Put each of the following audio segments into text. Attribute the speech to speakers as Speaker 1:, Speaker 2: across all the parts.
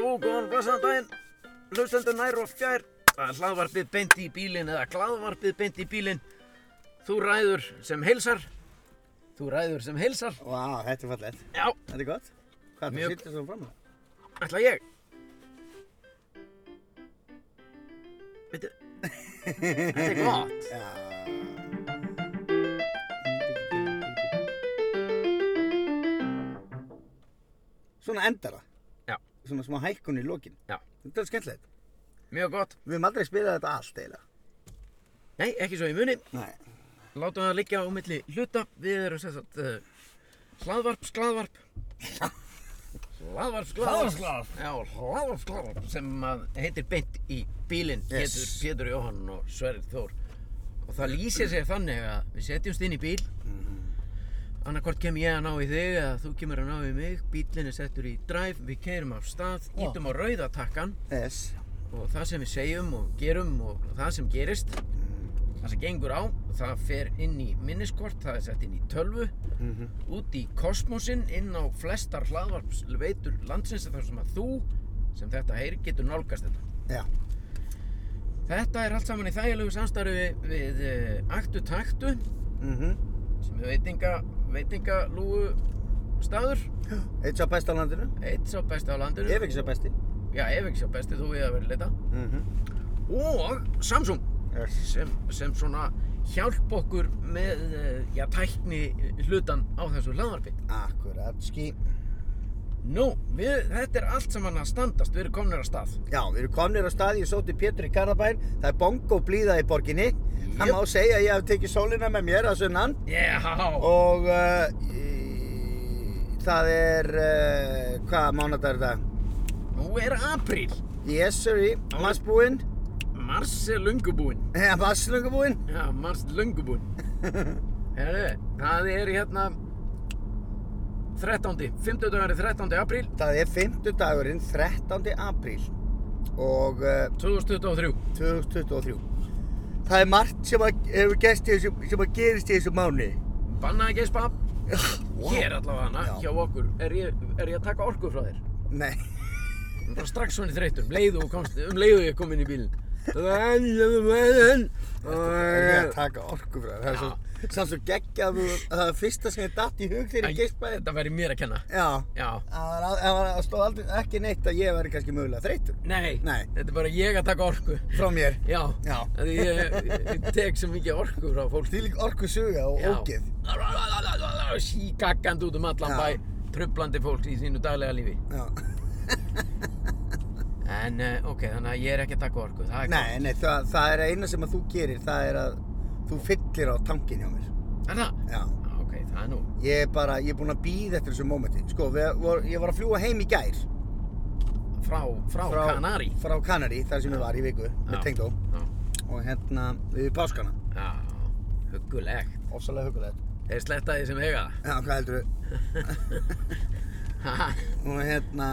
Speaker 1: Góðan daginn, hlustendur nær og fjær. Það er hlaðvarpið beint í bílinn eða hlaðvarpið beint í bílinn. Þú ræður sem heilsar. Þú ræður sem heilsar.
Speaker 2: Vá, þetta er fallegt.
Speaker 1: Já,
Speaker 2: Þetta er gott. Hvað er
Speaker 1: Mjög-
Speaker 2: það sýttir svona fram?
Speaker 1: ætla ég. Veitu, þetta er gott.
Speaker 2: Já. Svona endar það.
Speaker 1: Já.
Speaker 2: Svona smá hækkun í lokin.
Speaker 1: Já.
Speaker 2: Þetta er skemmtilegt.
Speaker 1: Mjög gott.
Speaker 2: Við höfum aldrei spilað þetta allt eiginlega.
Speaker 1: Nei, ekki svo í muni.
Speaker 2: Nei.
Speaker 1: Látum það liggja á milli hluta. Við erum sem sagt uh, hlaðvarp, sklaðvarp. Hlaðvarp, sklaðvarp.
Speaker 2: Hlaðvarp,
Speaker 1: Já, hlaðvarp, sklaðvarp sem að heitir beint í bílinn.
Speaker 2: Yes.
Speaker 1: Pétur, Pétur Jóhann og Sverrir Þór. Og það lýsir sér þannig að við setjumst inn í bíl. Mhm. Annarkvort kem ég að ná í þig eða þú kemur að ná í mig. Bílinn er settur í drive, við keirum af stað,
Speaker 2: Já.
Speaker 1: ítum á rauðatakkan
Speaker 2: Yes.
Speaker 1: og það sem við segjum og gerum og það sem gerist það sem gengur á, það fer inn í minniskort, það er sett inn í tölvu
Speaker 2: Mhm.
Speaker 1: út í kosmosinn inn á flestar hlaðvarpsveitur landsins þar sem að þú sem þetta heyri getur nálgast þetta
Speaker 2: Já.
Speaker 1: þetta er allt saman í þægilegu samstarfi við eh, Aktu Taktu
Speaker 2: Mhm.
Speaker 1: sem er veitinga, veitingalúu staður,
Speaker 2: Eitt sá best á landinu.
Speaker 1: eitt sá besti á landinu
Speaker 2: Ef ekki sá besti.
Speaker 1: já, ef ekki sá besti, þú við að vera leita
Speaker 2: Mhm.
Speaker 1: og Samsung
Speaker 2: Yes.
Speaker 1: sem, sem svona hjálp okkur með eh, já, tækni hlutan á þessu hlaðvarpi.
Speaker 2: Akkurat ský.
Speaker 1: Nú, við, þetta er allt saman að standast, við erum komnir að stað.
Speaker 2: Já, við erum komnir á staði, ég sóti Pétur í Garðabæn, það er bongo blíða í borginni. Það
Speaker 1: Jöp.
Speaker 2: má segja að ég hef tekið sólina með mér að sunnan
Speaker 1: Já,
Speaker 2: og uh, í- það er, uh, hvað mánadag er þetta?
Speaker 1: nú er apríl,
Speaker 2: Yes, sorry,
Speaker 1: Já.
Speaker 2: massbúinn,
Speaker 1: mars er löngubúinn.
Speaker 2: eða masslöngubúinn.
Speaker 1: Já, mars löngubúinn. Herðu, það er hérna 13. 50 dagar er 13. apríl
Speaker 2: Það er 5. dagurinn, 13. apríl og uh,
Speaker 1: 2023.
Speaker 2: 2023. Það er margt sem að, hefur gerst í þessu, sem að gerist í þessu mánu.
Speaker 1: Bannaði ekki spa, hér allavega hana,
Speaker 2: Já.
Speaker 1: hjá okkur. Er ég, er ég að taka orku frá þér?
Speaker 2: Nei.
Speaker 1: Það var strax svona í þreytur, um leiðu og komst, um leiðu ég kom inn í bílinn. Það
Speaker 2: Það er að taka orku frá þér. Það er svo, samt svo geggja að þú, að það er fyrsta sem ég datt í hug þegar ég geist bæðið.
Speaker 1: Þetta væri mér að kenna.
Speaker 2: Já.
Speaker 1: Já.
Speaker 2: Það var al- það var- það stóð aldrei ekki neitt að ég væri kannski mögulega þreytur
Speaker 1: Nei,
Speaker 2: Nei.
Speaker 1: þetta er bara ég að taka orku.
Speaker 2: frá mér.
Speaker 1: Já.
Speaker 2: Já.
Speaker 1: Því ég, ég tek svo mikið orku frá fólk.
Speaker 2: Því líka orku suga og
Speaker 1: Já.
Speaker 2: ógeð.
Speaker 1: Síkakkandi út um allan
Speaker 2: Já.
Speaker 1: bæ, trublandi fólk í sínu daglega lífi.
Speaker 2: Já.
Speaker 1: En eh, ok, þannig að ég er ekki að taka orku. Það er
Speaker 2: Nei, nei, það, það er eina sem að þú gerir, það er að þú fyllir á tankin hjá mér.
Speaker 1: gott. Er það?
Speaker 2: Já.
Speaker 1: Já, Ok, það er nú.
Speaker 2: Ég er bara, ég er búinn að býða eftir þessu mómenti. Sko, við, vor, ég var að fljúa heim í gær.
Speaker 1: Frá, frá, Kanari.
Speaker 2: Frá Kanari, þar sem ég var í viku, með
Speaker 1: Já.
Speaker 2: tengdó.
Speaker 1: Já.
Speaker 2: Og hérna, við páskana.
Speaker 1: Já, huggulegt.
Speaker 2: Ofsalega hugulegt.
Speaker 1: Þeir sletta því sem eiga það.
Speaker 2: Já, hvað heldur þau?
Speaker 1: Ha,
Speaker 2: og hérna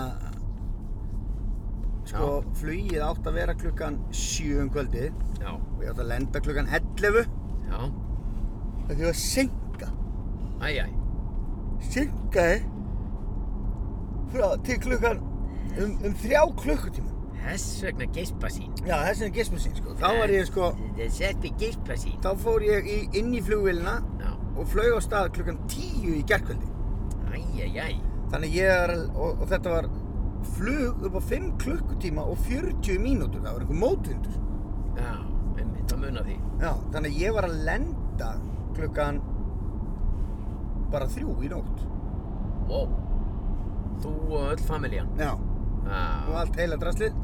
Speaker 2: sko, flugið átt að vera klukkan 7 um kvöldi og
Speaker 1: Já,
Speaker 2: ég átt að lenda klukkan 11
Speaker 1: já,
Speaker 2: af því að senka
Speaker 1: æj, æj,
Speaker 2: senkaði frá, til klukkan um, um þrjá klukkutíma
Speaker 1: þess vegna geispa sín.
Speaker 2: já, þess vegna gismu sín sko þá var ég sko,
Speaker 1: Þess vegna geispa sín.
Speaker 2: þá fór ég í, inn í flugvilina
Speaker 1: Já,
Speaker 2: og flög á stað klukkan 10 í gerkvöldi
Speaker 1: æj, æj, æj,
Speaker 2: þannig ég er, og, og þetta var flug upp á 5 klukkutíma og 40 mínútur, það var einhver mótvindur
Speaker 1: já, einmitt, það munar því.
Speaker 2: Já, þannig að ég var að lenda klukkan bara þrjú í nótt.
Speaker 1: Ó, þú og öll familjan.
Speaker 2: Já. Og
Speaker 1: Já,
Speaker 2: allt heila draslið.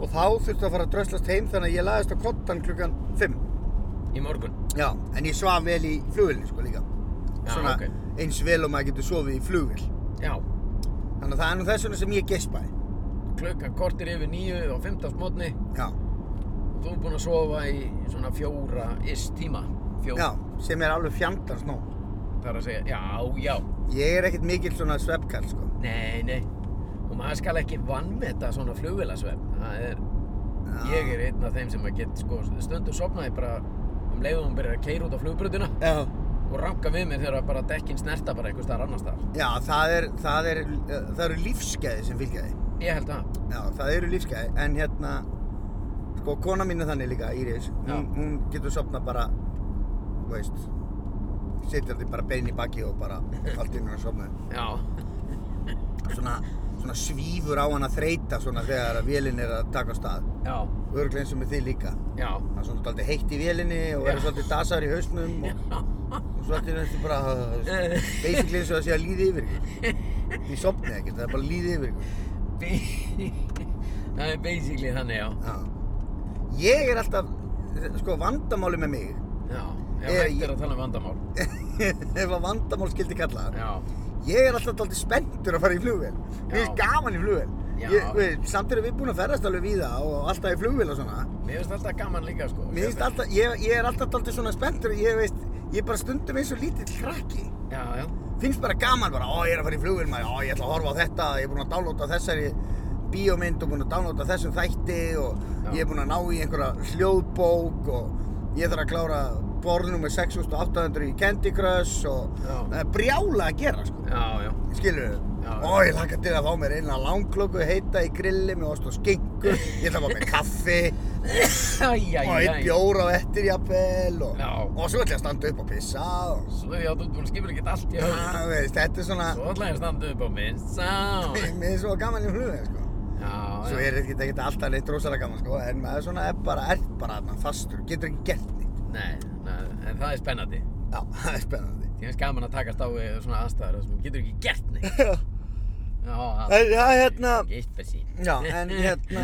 Speaker 2: Og þá þurfti að fara að dröslast heim þannig að ég laðist á kottan klukkan fimm.
Speaker 1: í morgun.
Speaker 2: Já, en ég svaf vel í flugvilni sko líka.
Speaker 1: Já,
Speaker 2: Svona
Speaker 1: ok.
Speaker 2: eins vel og maður getur sofið í flugvil.
Speaker 1: Já,
Speaker 2: Þannig að það er nú þess vegna sem ég gespaði.
Speaker 1: klukkan kortir yfir nýju á fimmtagsmótni
Speaker 2: Já.
Speaker 1: og þú er búinn að sofa í svona fjóra ist tíma. Fjó,
Speaker 2: Já, sem er alveg fjandans nóg.
Speaker 1: Það er að segja, já, já,
Speaker 2: Ég er ekkert mikill svona sveppkall sko.
Speaker 1: nei, nei. Og maður skal ekki vannmeta svona flugvélasvefn. Það er...
Speaker 2: Já.
Speaker 1: Ég er einn af þeim sem að get sko, stundum sopnaði bara um leiðum hún byrjar að keira út á flugbrutina
Speaker 2: Já.
Speaker 1: og ranka við mér þegar að bara dekkin snerta bara einhver staðar annar staðar.
Speaker 2: Já, það er, það er, það eru eh, lífsgæði sem fylgja því.
Speaker 1: Ég held að.
Speaker 2: Já, það eru lífsgæði, en hérna, sko, kona mín er þannig líka, Íris,
Speaker 1: Já.
Speaker 2: hún, hún getur sopna bara, þú veist, setjandi bara bein í baki og bara allt inn og sopna.
Speaker 1: Já.
Speaker 2: Svona, svona svífur á hana þreita svona þegar að vélinn er að taka á stað.
Speaker 1: Já.
Speaker 2: Örglega eins og með þið líka.
Speaker 1: Já.
Speaker 2: Það er svona daldið heitt í vélinni og verður
Speaker 1: Já.
Speaker 2: svolítið dasar í hausnum og, og svolítið næstu bara,
Speaker 1: Eh.
Speaker 2: basically eins og það sé að líði yfir ykkur. Þið sopnið ekkert, það er bara líði yfir ykkur.
Speaker 1: það er basically þannig, já.
Speaker 2: Já. Ég er alltaf, sko vandamáli með mig,
Speaker 1: Já. Já,
Speaker 2: Ég-
Speaker 1: hægt er að tala um vandamál.
Speaker 2: ef að vandamál skildi kalla það,
Speaker 1: Já.
Speaker 2: ég er alltaf alltaf spenntur að fara í flugvél. Mér
Speaker 1: Já.
Speaker 2: er gaman í flugvél.
Speaker 1: Já.
Speaker 2: Ég, við, samt erum við búin að ferðast alveg víða og alltaf í flugvél og svona.
Speaker 1: Mér finnst alltaf gaman líka, sko.
Speaker 2: Mér finnst alltaf, ég, ég er alltaf alltaf svona spenntur, ég veist, ég er bara stundum eins og lítill krakki.
Speaker 1: Já, já.
Speaker 2: Finnst bara gaman bara, ó ég er að fara í flugvél maður, ó ég ætla að horfa á þetta, ég er búin að downloada þessari bíómynd og búin að downloada þessum þætti og
Speaker 1: Já.
Speaker 2: ég er búin að ná í einhverja hljóðbók og ég þarf að klára borð nummer 6800 í Candy Crush og
Speaker 1: Já.
Speaker 2: það er brjála að gera sko,
Speaker 1: Já, já.
Speaker 2: skilur við?
Speaker 1: Já.
Speaker 2: Ó ég laka til að fá mér einna langklokku heita í grilli með ost og skingu, ég ætla að fá mér kaffi
Speaker 1: Æjæjæj.
Speaker 2: og einn bjór á eftir jafnvel og,
Speaker 1: Já.
Speaker 2: og svo ætla ég að standa upp og pissa og
Speaker 1: Svo já, þú ert búin að skipla ekki allt í höfn.
Speaker 2: Já, veist, þetta er svona,
Speaker 1: Svo ætla ég að standa upp á minn. Sá.
Speaker 2: mér er svo gaman í flugin, sko.
Speaker 1: Já,
Speaker 2: Svo
Speaker 1: já.
Speaker 2: er þetta ekki alltaf neitt rosalega gaman, sko, en maður svona er bara, er bara þarna fastur, getur ekki gert neitt.
Speaker 1: Nei, nei, en það er spennandi.
Speaker 2: Já, það er spennandi.
Speaker 1: Ég finnst gaman að takast á við svona aðstæður þar sem þú getur ekki gert neitt.
Speaker 2: Já,
Speaker 1: Já, það
Speaker 2: en, já, hérna,
Speaker 1: er geitt bensín.
Speaker 2: já, en hérna,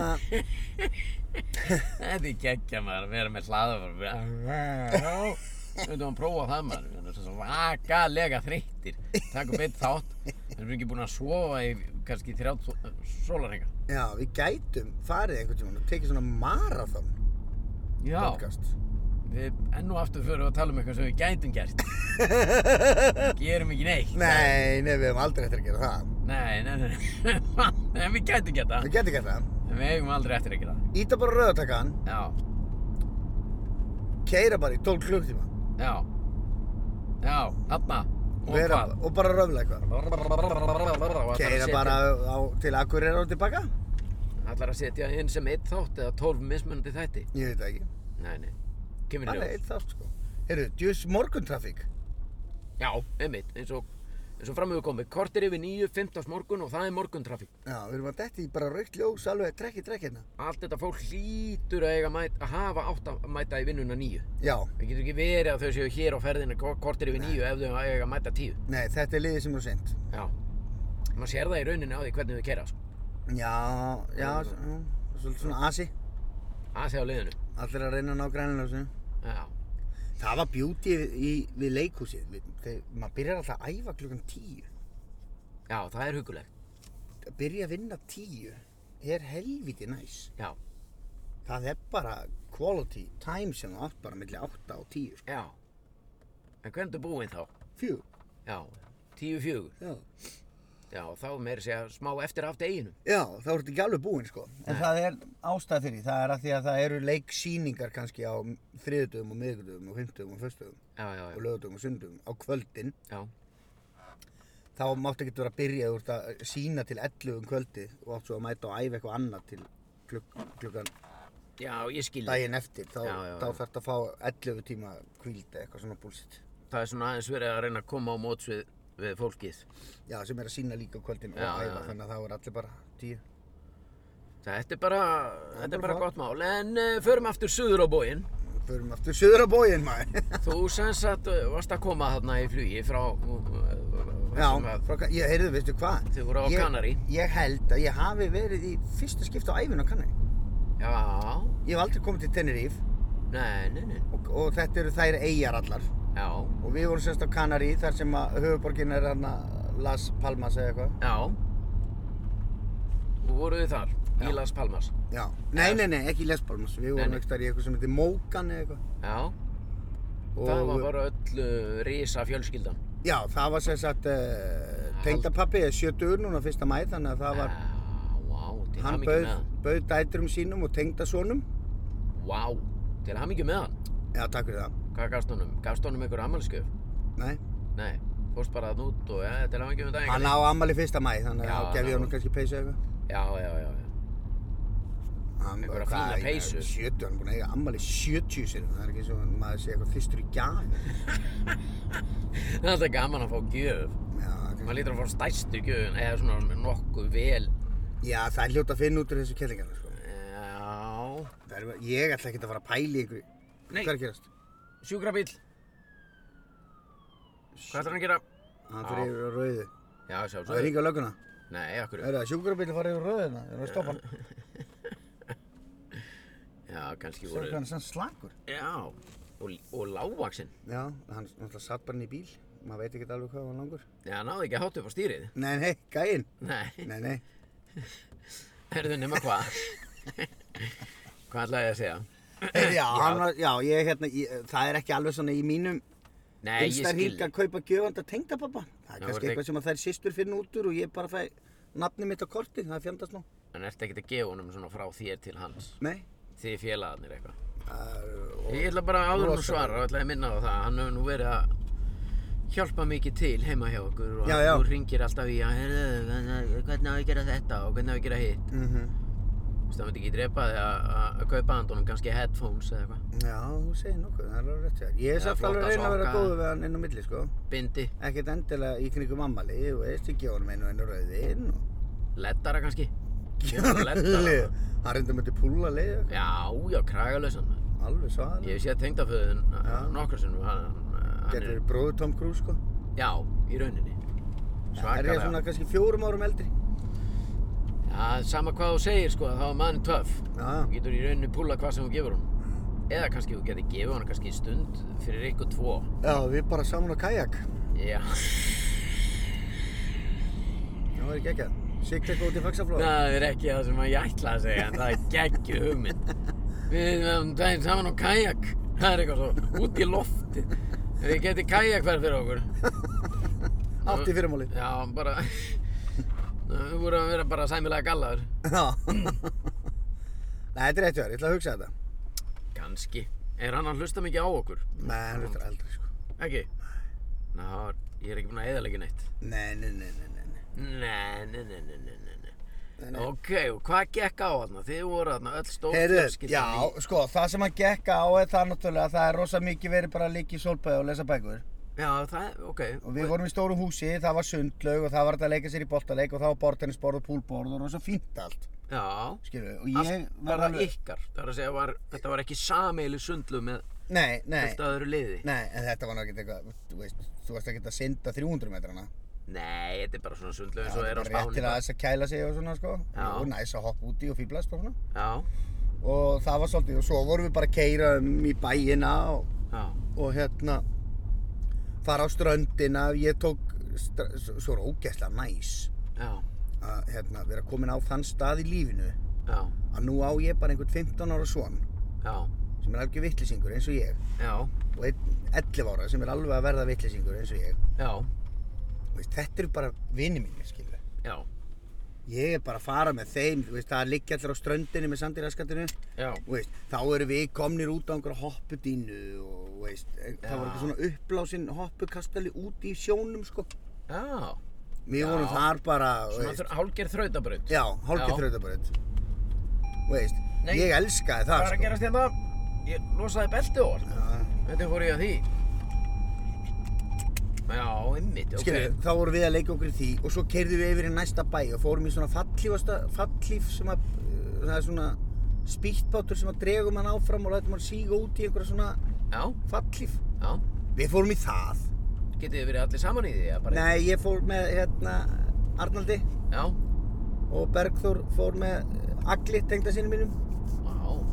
Speaker 1: Þetta er geggja maður að vera með hlaðavar. Þú veitum að prófa það maður. Það er svo svakalega þreyttir. Takk og beitt þátt. Það er ekki búin að sofa í kannski þrjátt sólarhengar.
Speaker 2: já, við gætum farið einhvern tímann og tekið svona marathon
Speaker 1: Já,
Speaker 2: podcast.
Speaker 1: við enn og aftur fyrir að tala um eitthvað sem við gætum gert. Gerum ekki neitt.
Speaker 2: Nei, nei, við hefum aldrei eftir að gera það.
Speaker 1: Nei, nei, nei. En við gætum gert það.
Speaker 2: Við getum gert það.
Speaker 1: En við eigum aldrei eftir að gera það.
Speaker 2: Íta bara rauðatakan,
Speaker 1: Já,
Speaker 2: keira bara í 12 klukktíma.
Speaker 1: já. Já, þarna. Og
Speaker 2: Vera-
Speaker 1: hvað?
Speaker 2: Og bara röfla eitthvað.
Speaker 1: Og ætlar að
Speaker 2: Keira
Speaker 1: setja-
Speaker 2: bara á, til Akureyra og tilbaka?
Speaker 1: Ætlar að setja inn sem eitt þátt eða tólf mismunandi þætti?
Speaker 2: Ég veit það ekki.
Speaker 1: Nei, nei. Kemur í
Speaker 2: Bara
Speaker 1: ljós.
Speaker 2: eitt þátt sko. Heyrðu, djús morguntrafík.
Speaker 1: Já, einmitt. Eins og, eins og fram hefur komið. Kortir yfir 9, 15 morgun og það er morguntrafík.
Speaker 2: Já, við erum að detti í bara raukt ljós alveg trekk í trekk hérna.
Speaker 1: Allt þetta fólk hlýtur að eiga mæt, að hafa átt að mæta í vinnuna 9.
Speaker 2: Já,
Speaker 1: Það getur ekki verið að þau séu hér á ferðina ko- kortir yfir 9 ef þau eiga að mæta 10.
Speaker 2: nei, þetta er liðið sem er sent.
Speaker 1: Já. Man sér það í rauninni á því hvernig þau kera, sko.
Speaker 2: Já, já, s- já, svolítið svona asi.
Speaker 1: Að þegar á liðinu.
Speaker 2: Allir að reyna að ná grænljósinu.
Speaker 1: Já.
Speaker 2: Það var beauty í, við leikhúsið. Við- Þegar maður byrjar alltaf að æfa klukkan tíu.
Speaker 1: Já, það er hugulegt.
Speaker 2: Að byrja að vinna tíu er helviti næs.
Speaker 1: Já.
Speaker 2: Það er bara quality time sem þú átt bara milli átta og tíu. Sko.
Speaker 1: Já. En hvernig er búinn þá?
Speaker 2: Fjú,
Speaker 1: Já. 10 fjögur.
Speaker 2: já.
Speaker 1: Já, þá meir segja smá eftir af deginum.
Speaker 2: Já, þá ertu ekki alveg búinn sko. En
Speaker 1: Nei.
Speaker 2: það er ástæð fyrir því, það er að því að það eru leiksýningar kannski á þriðdögum og miðgudögum og fymtdögum og föstdögum
Speaker 1: Já, já,
Speaker 2: og
Speaker 1: já.
Speaker 2: lögdögum og sundögum á kvöldin.
Speaker 1: Já,
Speaker 2: Þá máttu ekki vera að byrja úr að sína til 11 um kvöldi og áttu svo að mæta og æfa eitthvað annað til kluk klukkan
Speaker 1: já ég skil. þig.
Speaker 2: daginn eftir. Þá,
Speaker 1: Já, já,
Speaker 2: þá
Speaker 1: já.
Speaker 2: þarftu að fá 11 tíma kvíld eða eitthvað svona búlsitt.
Speaker 1: Það er svona aðeins verið að reyna að koma á móts við, við fólkið.
Speaker 2: Já, sem er að sína líka á kvöldin
Speaker 1: Já, já,
Speaker 2: og æfa,
Speaker 1: já.
Speaker 2: þannig að þá er allir bara 10.
Speaker 1: Þetta er bara, þetta er
Speaker 2: bara
Speaker 1: bara
Speaker 2: flott.
Speaker 1: gott mál. En uh, förum aftur suður á bóginn.
Speaker 2: Förum aftur söður á bóginn maður.
Speaker 1: Þú sem sagt eh, varst að koma þarna í flugi frá... Uh,
Speaker 2: Já, frá, Ka- ég heyrðu, veistu hvað?
Speaker 1: Þið voru á
Speaker 2: Ég-
Speaker 1: Kanarí.
Speaker 2: Ég held að ég hafi verið í fyrsta skipti á æfinu á Kanarí.
Speaker 1: Já,
Speaker 2: Ég hef aldrei komið til Tenerife
Speaker 1: nei, nei, nei.
Speaker 2: og, og þetta eru þær eigjar allar.
Speaker 1: Já,
Speaker 2: Og við vorum semst á Kanarí þar sem að höfuborgin er hérna Las Palmas eða eitthvað.
Speaker 1: já. Þú voruð þið þar, í Las Palmas.
Speaker 2: Já. Nei, nei, nei, ekki Las Palmas. Við vorum
Speaker 1: nei.
Speaker 2: ekki þar í eitthvað sem heitir Mókan eða eitthvað.
Speaker 1: Já,
Speaker 2: Og,
Speaker 1: það var bara öll uh, risa fjölskyldan.
Speaker 2: Já, það var semst að uh, tengdapappi er 70 núna fyrsta mæð þannig að það var...
Speaker 1: Já, vá, Ah, til
Speaker 2: Hann
Speaker 1: hamingju
Speaker 2: bauð,
Speaker 1: með hann.
Speaker 2: bauð dæturum sínum og tengdasonum.
Speaker 1: Vá, til hamingju með hann.
Speaker 2: Já, takk fyrir það.
Speaker 1: Hvað gafst honum? Gafst honum einhver ammælisgjöf?
Speaker 2: Nei.
Speaker 1: Nei, fórst bara að út og ja, til hamingju með daginn.
Speaker 2: Hann á ammali fyrsta mæ, þannig
Speaker 1: Já,
Speaker 2: að þá gef ég
Speaker 1: ná.
Speaker 2: honum kannski peysu eða eitthvað.
Speaker 1: já, já, já, já.
Speaker 2: Hann
Speaker 1: Einhverja
Speaker 2: hvað,
Speaker 1: fína
Speaker 2: ég-
Speaker 1: peysu.
Speaker 2: 70, hann er búin að eiga ammali 70 sinni, það er ekki eins og maður sé eitthvað fyrstur í gjafi.
Speaker 1: Það er alltaf gaman að fá gjöf.
Speaker 2: Já, kannski-
Speaker 1: Maður lítur að fá stærstu gjöfun, eða svona nokkuð vel.
Speaker 2: Já, það er hljóta að finna út úr þessu kellingarna, sko.
Speaker 1: Já.
Speaker 2: Það Er, ég ætla ekkert að fara að pæli ykkur.
Speaker 1: Nei.
Speaker 2: Hvað er að gerast?
Speaker 1: Sjúkrabíl. Hvað ætlar hann að gera?
Speaker 2: Hann
Speaker 1: Já.
Speaker 2: fyrir yfir á rauðu.
Speaker 1: Já, sjá,
Speaker 2: Það er
Speaker 1: svo.
Speaker 2: ringa á lögguna.
Speaker 1: Nei, okkur.
Speaker 2: Er það sjúkrabíli fara yfir á rauðina? Er það að stoppa hann?
Speaker 1: Já, kannski
Speaker 2: Sjá hvað
Speaker 1: voru.
Speaker 2: hann er sann slakur.
Speaker 1: Já. Og, og lágvaksinn.
Speaker 2: Já, hann náttúrulega satt bara hann í bíl. Maður veit ekki alveg hvað hann var langur.
Speaker 1: Já, hann náði ekki að hátu upp á stýrið.
Speaker 2: Nei, nei, gæinn.
Speaker 1: Nei,
Speaker 2: Nei, nei.
Speaker 1: herðu nema hvað. hvað ætlaði ég að segja?
Speaker 2: Hey, já, hann var, já, ég, hérna, ég, það er ekki alveg svona í mínum
Speaker 1: Nei, ég
Speaker 2: einstar hík
Speaker 1: skil.
Speaker 2: að kaupa gjöfanda tengdapappa. Það er
Speaker 1: Já,
Speaker 2: kannski
Speaker 1: voru
Speaker 2: eitthvað sem að þær sýstur finn út úr og ég bara fæ nafni mitt á korti, það er fjandast nú.
Speaker 1: En ertu ekkert að gefa honum svona frá þér til hans?
Speaker 2: Nei.
Speaker 1: Þið félagarnir eitthvað?
Speaker 2: Það er- og-
Speaker 1: Ég ætla bara áður en
Speaker 2: Rosa.
Speaker 1: þú svarar, þá ætla ég að minna á það. Hann hefur nú verið að hjálpa mikið til heima hjá okkur og
Speaker 2: Já,
Speaker 1: hann-
Speaker 2: já.
Speaker 1: þú ringir alltaf í að heyrðu, hvernig á ég að gera þetta og hvernig á ég að gera hitt.
Speaker 2: Mhm.
Speaker 1: Þú veist, það myndi ekki drepa þig að- að að kaupa handunum kannski headphones eða eitthvað.
Speaker 2: Já, þú segir nokkuð, það er alveg rétt sér. Ég er
Speaker 1: Já,
Speaker 2: samt
Speaker 1: flotta
Speaker 2: alveg að reyna að vera
Speaker 1: sokka.
Speaker 2: góður við hann inn á milli, sko.
Speaker 1: Bindi,
Speaker 2: Ekkert endilega í kringum ammali, þú veist, ég gefa honum einu og einu rauðin og...
Speaker 1: leddara kannski.
Speaker 2: Gefa honum
Speaker 1: leddara.
Speaker 2: lið. Hann reyndi að myndi púla lið, og-
Speaker 1: Já, já, kragalösan.
Speaker 2: alveg svaðan.
Speaker 1: Ég hef séð tengdaföðun
Speaker 2: Já.
Speaker 1: nokkru sinnum. Hann, eh, hann
Speaker 2: Getur
Speaker 1: er,
Speaker 2: verið bróður Tom Cruise, sko.
Speaker 1: já, í rauninni.
Speaker 2: Það er ég svona
Speaker 1: Svakalega.
Speaker 2: kannski fjórum árum eldri.
Speaker 1: Já, sama hvað þú segir sko, þá er maðurinn töff.
Speaker 2: Já,
Speaker 1: Þú getur í rauninni púla hvað sem þú gefur hún. Eða kannski þú getur gefið hún kannski stund fyrir ykkur tvo.
Speaker 2: já, við bara saman á kajak.
Speaker 1: Já.
Speaker 2: Það var ekki ekki að. Sigta eitthvað út í fagsaflóða.
Speaker 1: Það er ekki það sem að ég ætla að segja, en það er geggju hugmynd. Við verðum daginn saman á kajak. Það er eitthvað svo, út í lofti. Við getum kajakferð fyrir okkur.
Speaker 2: Átt í fyrirmáli.
Speaker 1: Já, bara... Við vorum að vera bara sæmilega gallaður.
Speaker 2: Já. Nei, þetta er rétt verið, ég ætla að hugsa þetta.
Speaker 1: Kanski. Er hann að hlusta mikið á okkur?
Speaker 2: Nei, hann hlustar aldrei, sko.
Speaker 1: Ekki? Ná, ég er ekki búinn að eðalega neitt.
Speaker 2: Nei, nei, nei, nei, nei, nei.
Speaker 1: Nei, nei, nei, nei, nei, nei, nei.
Speaker 2: Nei, nei.
Speaker 1: Ok, og hvað gekk á þarna? Þið voru þarna öll stór
Speaker 2: Heyrðu,
Speaker 1: fjölskyldan
Speaker 2: já,
Speaker 1: í-
Speaker 2: sko, það sem hann gekk á er það náttúrulega að það er rosa mikið verið bara að liggja í solbæði og lesa bækur.
Speaker 1: Já, það, ok.
Speaker 2: Og við vorum í stóru húsi, það var sundlaug og það var þetta að leika sér í boltaleik og það var bortennisborð og púlborð og rosa fínt allt,
Speaker 1: Já.
Speaker 2: skilju. Og
Speaker 1: Allt
Speaker 2: ég
Speaker 1: var það ykkar. Það er að segja, var, þetta var ekki sameili sundlu með
Speaker 2: Nei, nei,
Speaker 1: fullt öðru liði.
Speaker 2: nei, en þetta var náttúrulega eitthvað, þú veist, þú varst ekki að synda 300 metrana.
Speaker 1: Nei, þetta er bara svona sundlu eins og
Speaker 2: það
Speaker 1: er á
Speaker 2: bara rétt
Speaker 1: spáni.
Speaker 2: til
Speaker 1: bara.
Speaker 2: að þess að kæla sig og svona, sko.
Speaker 1: Já.
Speaker 2: Og næs að hoppa úti og fýblast og svona.
Speaker 1: Já,
Speaker 2: Og það var svolítið, og svo vorum við bara að keyra um í bæina og
Speaker 1: já,
Speaker 2: og hérna fara á ströndina ég tók, stra- s- svo er ógeðslega næs
Speaker 1: já,
Speaker 2: að hérna, vera komin á þann stað í lífinu
Speaker 1: já,
Speaker 2: að nú á ég bara einhvern 15 ára svon
Speaker 1: já,
Speaker 2: sem er algjör vittlisingur eins og ég
Speaker 1: já,
Speaker 2: og einn 11 ára sem er alveg að verða vittlisingur eins og ég
Speaker 1: já,
Speaker 2: Þú veist, þetta eru bara vini mínir skilu
Speaker 1: já,
Speaker 2: ég er bara að fara með þeim þú veist, það liggja allir á ströndinu með sandirraskatinu
Speaker 1: já,
Speaker 2: veist, þá eru við komnir út á einhverja hoppudínu og þú veist, það var
Speaker 1: Já.
Speaker 2: eitthvað svona uppblásin hoppukastali út í sjónum sko
Speaker 1: já.
Speaker 2: Við
Speaker 1: Já.
Speaker 2: vorum þar bara, þú
Speaker 1: Svona
Speaker 2: veist,
Speaker 1: þurr hálger þrautabraut.
Speaker 2: já, hálfgeir
Speaker 1: Já.
Speaker 2: þrautabröð. Veist,
Speaker 1: Nei.
Speaker 2: ég elskaði
Speaker 1: Hvað
Speaker 2: það, sko.
Speaker 1: er að gerast hérna? Ég losaði beltið á hann.
Speaker 2: Já.
Speaker 1: Þetta fór ég að því. Já, ymmit, ok.
Speaker 2: Skilju, þá vorum við að leika okkur í því og svo keirðum við yfir í næsta bæ og fórum í svona fallífasta, fallíf sem að, uh, það er svona spýttbátur sem að dregum hann áfram og lætum hann síga út í einhverja svona
Speaker 1: Já,
Speaker 2: fallíf.
Speaker 1: já.
Speaker 2: Við fórum í það.
Speaker 1: Getið þið verið allir saman í því? eða bara-
Speaker 2: Nei, ég fór með, hérna, Arnaldi
Speaker 1: Já,
Speaker 2: og Bergþór fór með uh, Agli, tengda sinni mínum.
Speaker 1: já,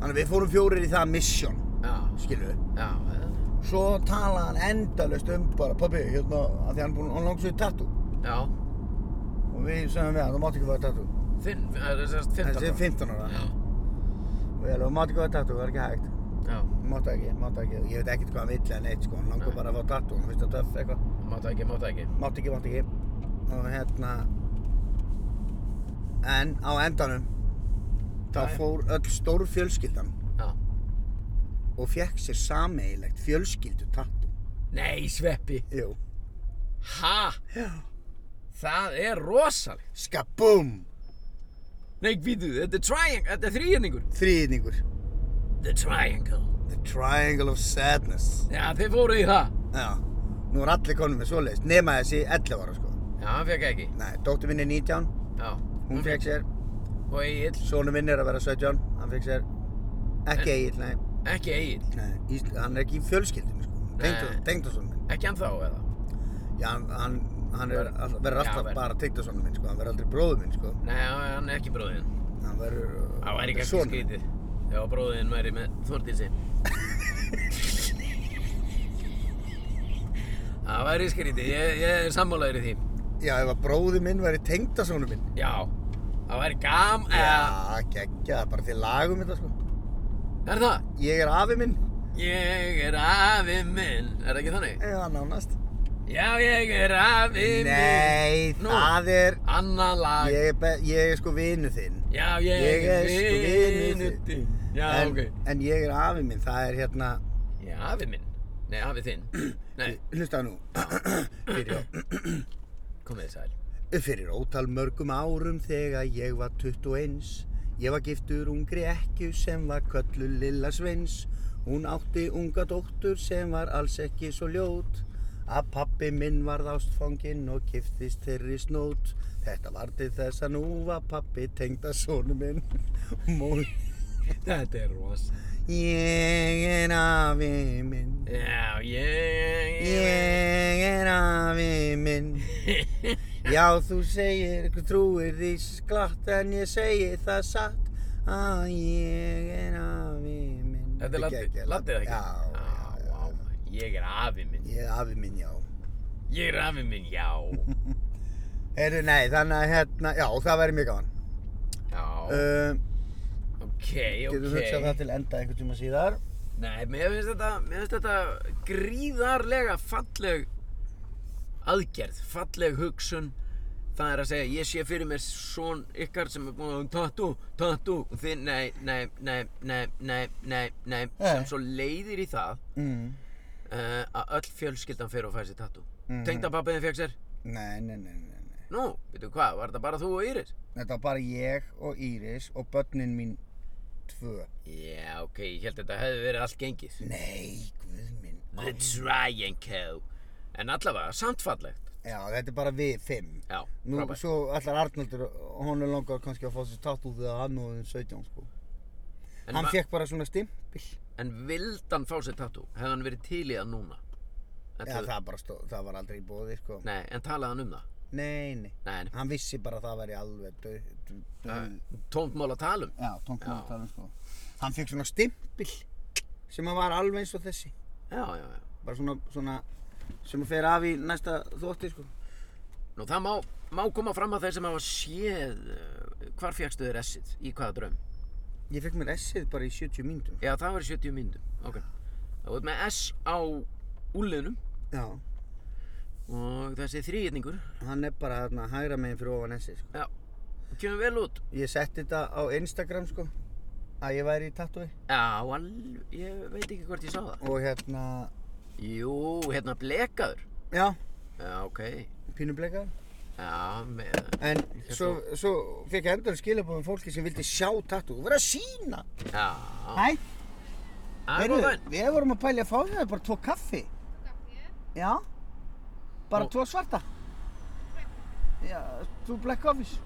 Speaker 2: Þannig að við fórum fjórir í það mission,
Speaker 1: já,
Speaker 2: skilju.
Speaker 1: já, eða-
Speaker 2: Svo talaði hann endalaust um bara, pabbi, hérna, að því hann, búinn- hann langt svo í tattoo.
Speaker 1: já.
Speaker 2: Og við sögum við hann, þú mátt ekki fara í tattoo.
Speaker 1: Finn, það er sérst 15
Speaker 2: Þessi er 15 ára.
Speaker 1: Já,
Speaker 2: Og ég alveg, þú mátt ekki fara í tattoo, það er ekki hægt.
Speaker 1: já,
Speaker 2: Mátt ekki, mátt ekki. Ég veit ekkert hvað hann vill eða neitt, sko. Hann langur
Speaker 1: Nei.
Speaker 2: bara að fá tattoo, hann finnst það töff eitthvað.
Speaker 1: máta ekki, máta ekki
Speaker 2: Mátt ekki, mátt ekki. Og hérna, en á endanum, þá
Speaker 1: Nei.
Speaker 2: fór öll stór fjölskyldan
Speaker 1: Já
Speaker 2: og fekk sér sameigilegt fjölskyldu tattoo.
Speaker 1: Nei, sveppi
Speaker 2: Jú.
Speaker 1: Ha?
Speaker 2: Já.
Speaker 1: Það er rosalegt
Speaker 2: Skabum!
Speaker 1: Nei, býtu, þetta er triangle, þetta er þrýhenningur.
Speaker 2: Þriðningur.
Speaker 1: The triangle.
Speaker 2: The Triangle of Sadness.
Speaker 1: Já, þið fóru í það.
Speaker 2: Já, nú er allir konum með svoleiðist, nema þessi 11 ára sko.
Speaker 1: Já, hann fekk ekki.
Speaker 2: Nei, dóttir minn er 19,
Speaker 1: Já.
Speaker 2: hún fekk sér,
Speaker 1: Og Egil,
Speaker 2: sonu minn er að vera 17, hann fekk sér,
Speaker 1: Eh.
Speaker 2: ekki Egil, nei,
Speaker 1: ekki Egil,
Speaker 2: nei Ísl, hann er ekki í fjölskyldum sko,
Speaker 1: Nei.
Speaker 2: tengdasonu minn.
Speaker 1: ekki hann þá eða.
Speaker 2: Já, hann, hann, hann er, all- verður
Speaker 1: Já,
Speaker 2: alltaf
Speaker 1: verður.
Speaker 2: bara tengdasonu minn sko, hann verður aldrei bróður minn sko,
Speaker 1: Nei, hann er ekki bróðin.
Speaker 2: hann verður,
Speaker 1: Það væri kannski
Speaker 2: sonur.
Speaker 1: skrítið. Já, bróðin væri með Þordísi. Það væri skrítið, ég, ég er sammálaður í því.
Speaker 2: Já, ef að bróður minn væri tengdasonu minn.
Speaker 1: Já, það væri gam... eða,
Speaker 2: Já, geggja, bara til lagum þetta sko.
Speaker 1: Er það?
Speaker 2: Ég er afi minn,
Speaker 1: Ég er afi minn. Er það ekki þannig?
Speaker 2: eða nánast.
Speaker 1: Já, ég er afi minn.
Speaker 2: Nei,
Speaker 1: Nú.
Speaker 2: það er,
Speaker 1: Anna lag.
Speaker 2: ég er, be- ég er sko vinu þinn.
Speaker 1: Já, ég,
Speaker 2: Ég er sko vinur
Speaker 1: vinur
Speaker 2: þinn.
Speaker 1: þinn. Já,
Speaker 2: en,
Speaker 1: ok.
Speaker 2: en ég er afi minn, það er hérna,
Speaker 1: Ég er afi minn. Nei, afi þinn. Nei,
Speaker 2: hlusta nú, fyrir,
Speaker 1: komið þið sæl.
Speaker 2: fyrir ótal mörgum árum þegar ég var 21. Ég var giftur ungri ekkju sem var köllu Lilla Sveins. Hún átti unga dóttur sem var alls ekki svo ljót. Að pappi minn varð ástfanginn og giftist þeirri snót. Þetta var til þess að nú var pappi tengda sonu minn. Móð
Speaker 1: Þetta er rosa.
Speaker 2: Ég er afi minn
Speaker 1: Já, ég...
Speaker 2: Ég er afi minn Já, þú segir, þú trúir því sklatt En ég segi það satt Að ég er afi minn
Speaker 1: Þetta er laddi-
Speaker 2: geggjað,
Speaker 1: laddið ekki?
Speaker 2: Já,
Speaker 1: Já,
Speaker 2: já,
Speaker 1: já. Ég er afi minn.
Speaker 2: Ég er afi minn, já
Speaker 1: Ég er afi minn, já.
Speaker 2: Heyrðu, nei, þannig að hérna Já, það væri mjög gaman
Speaker 1: Já,
Speaker 2: uh,
Speaker 1: ok,
Speaker 2: Getur
Speaker 1: ok.
Speaker 2: hugsað það til enda einhvern tíma síðar
Speaker 1: Nei, mér finnst þetta, mér finnst þetta gríðarlega falleg aðgerð, falleg hugsun. Það er að segja, ég sé fyrir mér svon ykkar sem er búin að tattu, tattu, og þið, nei, nei, nei, nei, nei, nei, nei, sem
Speaker 2: Nei.
Speaker 1: svo leiðir í það
Speaker 2: mm.
Speaker 1: uh, að öll fjölskyldan fyrir og fær sér tattu.
Speaker 2: Mhm.
Speaker 1: Tengda pappiðin fekk sér,
Speaker 2: Nei, nei, nei, nei, nei
Speaker 1: nú, veitu hvað, var þetta bara þú og Íris?
Speaker 2: Þetta var bara ég og Íris og börnin mín tvö
Speaker 1: Já, ok, ég held að þetta hefði verið allt gengið.
Speaker 2: Nei, guð minn.
Speaker 1: The Triangle. En allavega, samt fallegt.
Speaker 2: Já, þetta er bara við fimm.
Speaker 1: Já,
Speaker 2: Nú,
Speaker 1: frábært.
Speaker 2: svo allar Arnaldur, hún er langar kannski að fá sér tatt út þegar hann og 17, sko.
Speaker 1: En
Speaker 2: hann
Speaker 1: ma-
Speaker 2: fekk bara svona stimpil.
Speaker 1: En vildi hann fá sér tattoo? Hefði hann verið til í það núna? En
Speaker 2: Já,
Speaker 1: þau-
Speaker 2: það bara stóð, það var aldrei í bóði, sko.
Speaker 1: Nei, en talaði hann um það?
Speaker 2: Nei, nei.
Speaker 1: Nei,
Speaker 2: Hann vissi bara að það væri alveg döð, döð,
Speaker 1: en tómt mál að tala um.
Speaker 2: Já, tónkum að tala um, sko. Hann fekk svona stimpil sem að var alveg eins og þessi.
Speaker 1: Já, já, já.
Speaker 2: Bara svona, svona, sem að fer af í næsta þótti, sko.
Speaker 1: Nú, það má, má koma fram að þeir sem hafa séð uh, hvar fegstu þér essið, í hvaða draum.
Speaker 2: Ég fekk mér essið bara í 70 mínútum.
Speaker 1: Já, það var í 70 myndum. Ok. Það var með S á úliðnum
Speaker 2: Já.
Speaker 1: og þessi þrýhetningur.
Speaker 2: Hann er bara þarna hægra meginn fyrir ofan essið, sko.
Speaker 1: Já, kemur vel út.
Speaker 2: Ég setti þetta á Instagram sko að ég væri í tattooi
Speaker 1: Já, alveg, ég veit ekki hvort ég sá það.
Speaker 2: og hérna
Speaker 1: Jú, hérna blekaður.
Speaker 2: já,
Speaker 1: Já, ok.
Speaker 2: pínubleikar
Speaker 1: Já, með...
Speaker 2: en svo, svo fekk ég endur skilabóðum fólki sem vildi sjá tattoo og vera að sína
Speaker 1: Já.
Speaker 2: Hæ,
Speaker 1: Það er
Speaker 2: heyrðu,
Speaker 1: góð venn.
Speaker 2: við vorum að pæli að fá þér bara tvo kaffi Já, bara
Speaker 1: Og-
Speaker 2: tvo svarta Já, þú black coffees